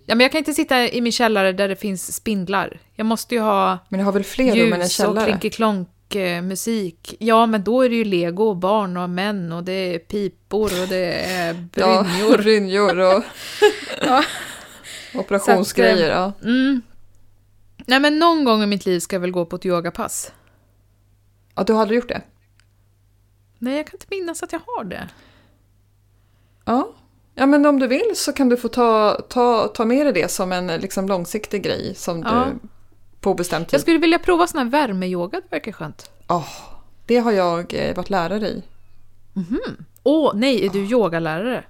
A: Ja, men jag kan inte sitta i min källare där det finns spindlar. Jag måste ju ha
B: Men jag har väl fler rum än en
A: ljus och
B: källare?
A: klinkeklonk eh, musik. Ja, men då är det ju lego och barn och män och det är pipor och det är
B: Ja,
A: brynjor.
B: brynjor och
A: Ja.
B: operationsgrejer. Ja.
A: Mm. Nej, men någon gång i mitt liv ska jag väl gå på ett yogapass.
B: ja, du hade gjort det?
A: Nej, jag kan inte minnas att jag har det.
B: Ja. Ja, men om du vill så kan du få ta, ta, ta med dig det som en liksom, långsiktig grej som
A: Ja.
B: du på bestämd tid.
A: Jag skulle vilja prova sån här värmeyoga, det verkar skönt.
B: Åh, det har jag eh, varit lärare i.
A: Åh, nej, är du yogalärare?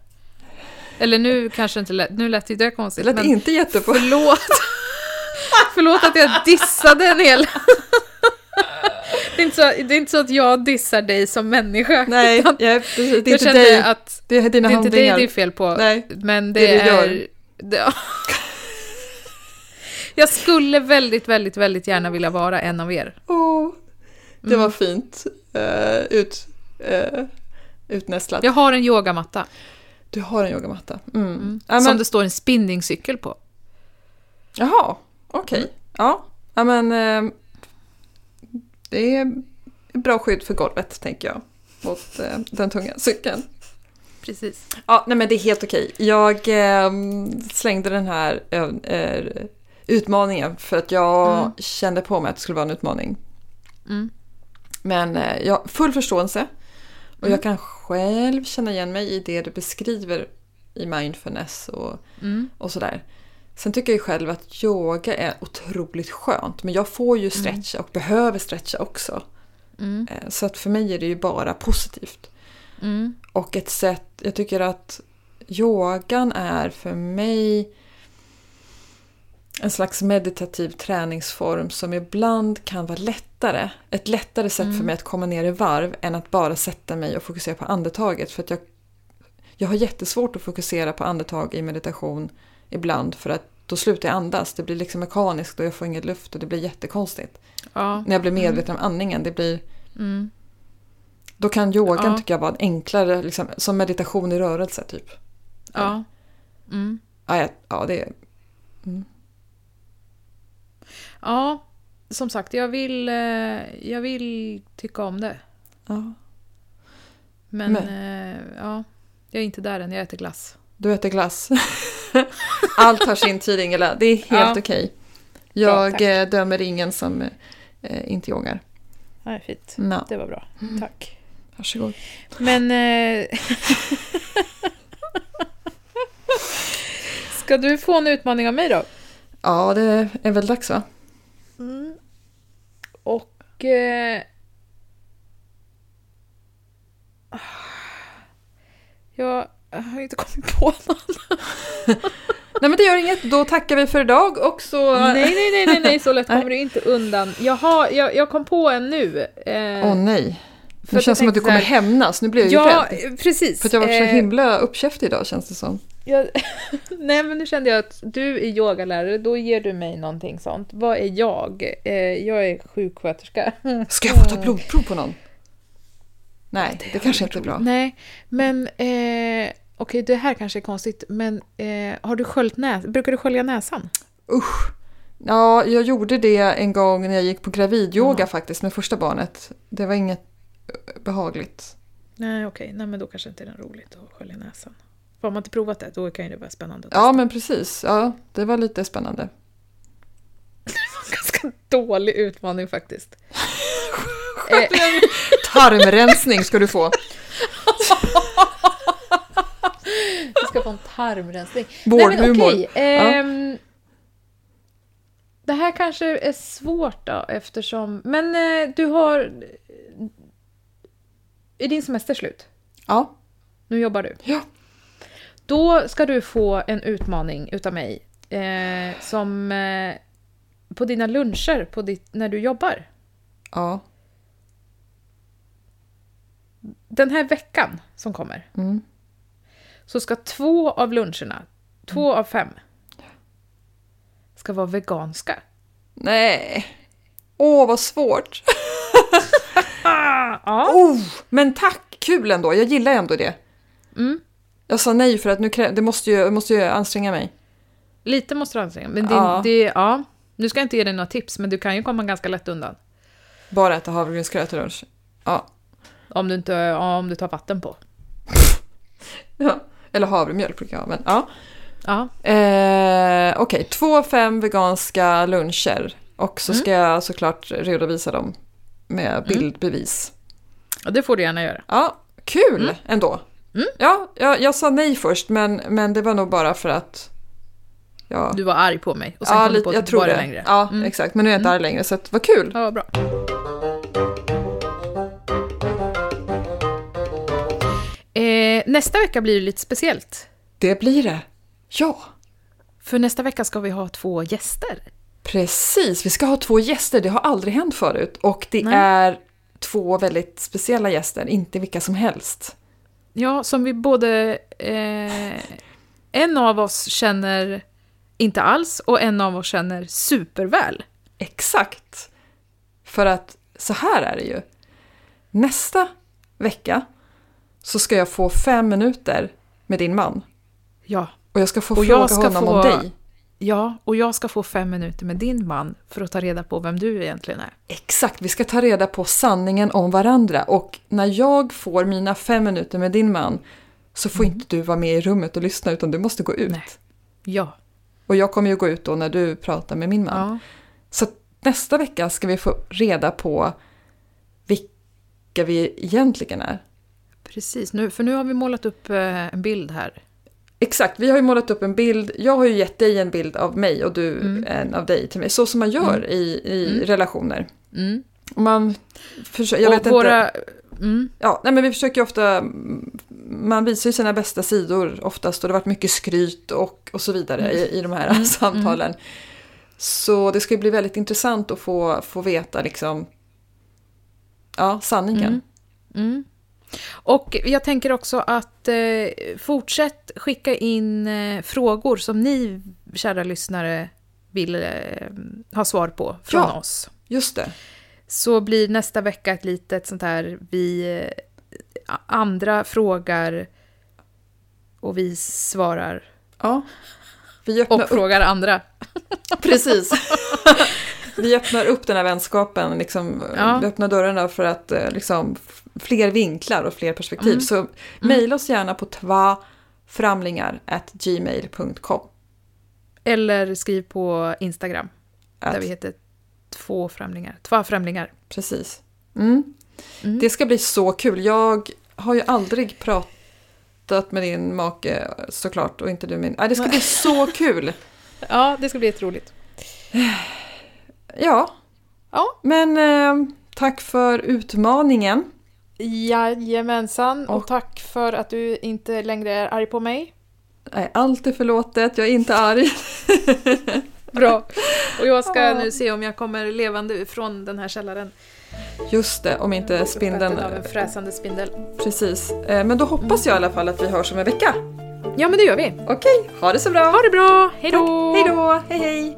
A: Eller nu kanske inte lät, nu lät ju det
B: Det
A: konstigt.
B: lät
A: men
B: inte jättebra.
A: Förlåt. förlåt att jag dissade en hel... det, är inte så, det är inte så att jag dissar dig som människa.
B: Nej,
A: utan
B: jag, precis, det är
A: jag
B: inte
A: kände
B: dig.
A: att
B: Det är
A: det
B: dina
A: är inte dig
B: handlingar.
A: det är fel på.
B: Nej,
A: men det,
B: det du
A: är...
B: gör.
A: Det, ja. jag skulle väldigt, väldigt, väldigt gärna vilja vara en av er.
B: Åh, det
A: Mm.
B: var fint. Eh, ut, eh, utnästlat.
A: Jag har en yogamatta
B: Du har en yogamatta. Mm. Ja,
A: som
B: men-
A: det står en spinningcykel på.
B: Jaha, okej. Ja. ja, men eh, det är bra skydd för golvet tänker jag. Mot eh, den tunga cykeln.
A: Precis.
B: Ja, nej men det är helt okej. Jag eh, slängde den här eh, eh, utmaningen för att jag kände på mig att det skulle vara en utmaning.
A: Mm.
B: Men eh, jag har full förståelse och jag kan själv känna igen mig i det du beskriver i mindfulness och,
A: Mm.
B: och sådär. Sen tycker jag ju själv att yoga är otroligt skönt men jag får ju stretcha och behöver stretcha också.
A: Mm.
B: Eh, Så att för mig är det ju bara positivt.
A: Mm.
B: Och ett sätt, jag tycker att yogan är för mig en slags meditativ träningsform som ibland kan vara lättare. Ett lättare sätt för mig att komma ner i varv än att bara sätta mig och fokusera på andetaget. För att jag, jag har jättesvårt att fokusera på andetag i meditation ibland för att då slutar jag andas. Det blir liksom mekaniskt och jag får ingen luft och det blir jättekonstigt.
A: Ja.
B: När jag blir medveten om andningen, det blir
A: Mm.
B: då kan yogan
A: Ja.
B: tycker jag vara en enklare, liksom, som meditation i rörelse typ.
A: Ja. Mm.
B: Ja, jag- ja det är...
A: Ja, som sagt, jag vill, eh, jag vill tycka om det.
B: Ja.
A: Men, eh, ja, jag är inte där än, jag äter glass.
B: Du äter glass. Allt har sin tid, Ingela. Det är helt
A: Ja.
B: okej.
A: Bra,
B: Jag
A: tack.
B: eh, dömer ingen som eh, inte yogar.
A: Nej, fint.
B: No.
A: Det var bra. Tack.
B: Varsågod.
A: Men... Eh, ska du få en utmaning av mig då?
B: Ja, det är väl dags va?
A: Mm. Och... Eh, jag har inte kommit på någon.
B: Nej men det gör inget, då tackar vi för idag och så...
A: Nej, nej, nej, nej, nej, så lätt kommer du inte undan. Jag, har, jag, jag kom på en nu. Eh,
B: Åh nej.
A: för
B: Nu
A: jag
B: känns som att
A: tänkte
B: du kommer
A: så här-
B: hämnas, nu blir jag ju
A: Ja,
B: rädd.
A: precis.
B: För att jag har varit
A: Eh,
B: så himla uppkäftig idag känns det som.
A: jag, nej, men nu kände jag att du är yogalärare, då ger du mig någonting sånt. Vad är jag? Eh, jag är sjuksköterska.
B: Ska jag få
A: Eh.
B: ta blodprov på någon? Nej, det, kanske inte är bra.
A: Nej, men eh, okej, det här kanske är konstigt, men eh, har du sköljt näs brukar du skölja näsan?
B: Usch. Ja, jag gjorde det en gång när jag gick på gravidyoga faktiskt med första barnet. Det var inget eh, behagligt.
A: Nej, okej, nej, men då kanske inte det är roligt att skölja näsan. För Har man inte provat det, då kan ju det vara spännande. att
B: Ja, men precis. Ja, det var lite spännande.
A: Ganska dålig utmaning faktiskt. Eh,
B: Tarmrensning ska du få.
A: Du ska få en tarmrensning.
B: Vårdhumor.
A: Nej, men okej, ehm, Det här kanske är svårt då eftersom... Men eh, du har... eh, Är din semester slut?
B: Ja.
A: Nu jobbar du.
B: Ja.
A: Då ska du få en utmaning utav mig. Eh, som... Eh, på dina luncher på ditt, när du jobbar.
B: Ja.
A: Den här veckan som kommer.
B: Mm.
A: så ska två av luncherna, två
B: Mm.
A: av fem, ska vara veganska.
B: Nej. Åh, vad svårt.
A: Ja.
B: Oh, men tack! Kul ändå. Jag gillar ändå det.
A: Mm.
B: Jag sa nej för att nu krä- det måste ju, jag måste ju anstränga mig.
A: Lite måste du anstränga men det,
B: Ja.
A: ja. Det, ja. Nu ska jag inte ge dig några tips, men du kan ju komma ganska lätt undan.
B: Bara äta havregrynsgröt till lunch. Ja.
A: Om du, inte, ja, om du tar vatten på.
B: ja. Eller havremjölk brukar jag ha, men ja.
A: Ja.
B: Eh, Okej, två fem veganska luncher. Och så
A: Mm.
B: ska jag såklart redovisa dem med bildbevis.
A: ja, det får du gärna göra.
B: Ja, kul
A: Mm.
B: ändå. Ja, jag, jag sa nej först, men, men det var nog bara för att... Ja,
A: Du var arg på mig och sen kom du på att du inte var det längre. Mm.
B: Ja, exakt. Men nu är jag inte arg längre, så att, vad kul.
A: Ja, vad bra. Eh, nästa vecka blir det lite speciellt.
B: Det blir det. Ja,
A: För nästa vecka ska vi ha två gäster.
B: precis. Vi ska ha två gäster. Det har aldrig hänt förut. Och det
A: Nej.
B: är två väldigt speciella gäster, inte vilka som helst.
A: Ja, som vi både... Eh, en av oss känner inte alls och en av oss känner superväl.
B: Exakt. För att så här är det ju. Nästa vecka så ska jag få fem minuter med din man.
A: Ja.
B: Och jag ska få
A: Och
B: fråga
A: jag ska
B: honom om
A: få-
B: dig.
A: Ja, och jag ska få fem minuter med din man för att ta reda på vem du egentligen är.
B: Exakt, vi ska ta reda på sanningen om varandra. Och när jag får mina fem minuter med din man så får inte du vara med i rummet och lyssna utan du måste gå ut.
A: Mm. Nej. Ja.
B: Och jag kommer ju gå ut då när du pratar med min man.
A: ja.
B: Så att nästa vecka ska vi få reda på vilka vi egentligen är.
A: Precis, nu, för nu har vi målat upp eh, en bild här.
B: Exakt, vi har ju målat upp en bild. Jag har ju gett dig en bild av mig och du
A: Mm.
B: en av dig till mig. Så som man gör i, i relationer.
A: Mm.
B: Och man försöker, jag
A: och
B: vet inte.
A: våra, Mm,
B: Ja, nej men vi försöker ju ofta, man visar ju sina bästa sidor oftast och det har varit mycket skryt och, och så vidare
A: Mm.
B: i, i de här samtalen. Så det ska ju bli väldigt intressant att få, få veta liksom, ja, sanningen.
A: mm. Och jag tänker också att eh, fortsätt skicka in eh, frågor som ni, kära lyssnare, vill eh, ha svar på från
B: Ja.
A: oss.
B: Just det.
A: så blir nästa vecka ett litet sånt här vi eh, andra frågar och vi svarar
B: Ja. Vi öppnar
A: och frågar andra.
B: Precis. vi öppnar upp den här vänskapen, liksom,
A: Ja.
B: vi öppnar dörrarna för att eh, liksom, f- fler vinklar och fler perspektiv.
A: Mm.
B: Så mejla oss gärna på tvaframlingar.gmail.com.
A: Eller skriv på Instagram där
B: Att-
A: vi heter två främlingar. Två främlingar.
B: Precis. Mm.
A: Mm.
B: Det ska bli så kul. Jag har ju aldrig pratat med din make såklart och inte du min. Nej, det ska bli så kul.
A: Ja, det ska bli jätteroligt.
B: Ja,
A: Ja.
B: men eh, tack för utmaningen.
A: Jajamensan,
B: och
A: tack för att du inte längre är arg på mig.
B: Nej, allt är förlåtet, jag är inte arg.
A: Bra. Och jag ska
B: Ja.
A: nu se om jag kommer levande från den här källaren.
B: Just det, om inte spindeln...
A: Uppäten av en fräsande spindel.
B: Precis. Eh, Men då hoppas jag i alla fall att vi hörs om en vecka.
A: Ja, men det gör vi.
B: Okej, ha det så bra!
A: Ha det bra! Hej då!
B: Hej då! Hej hej!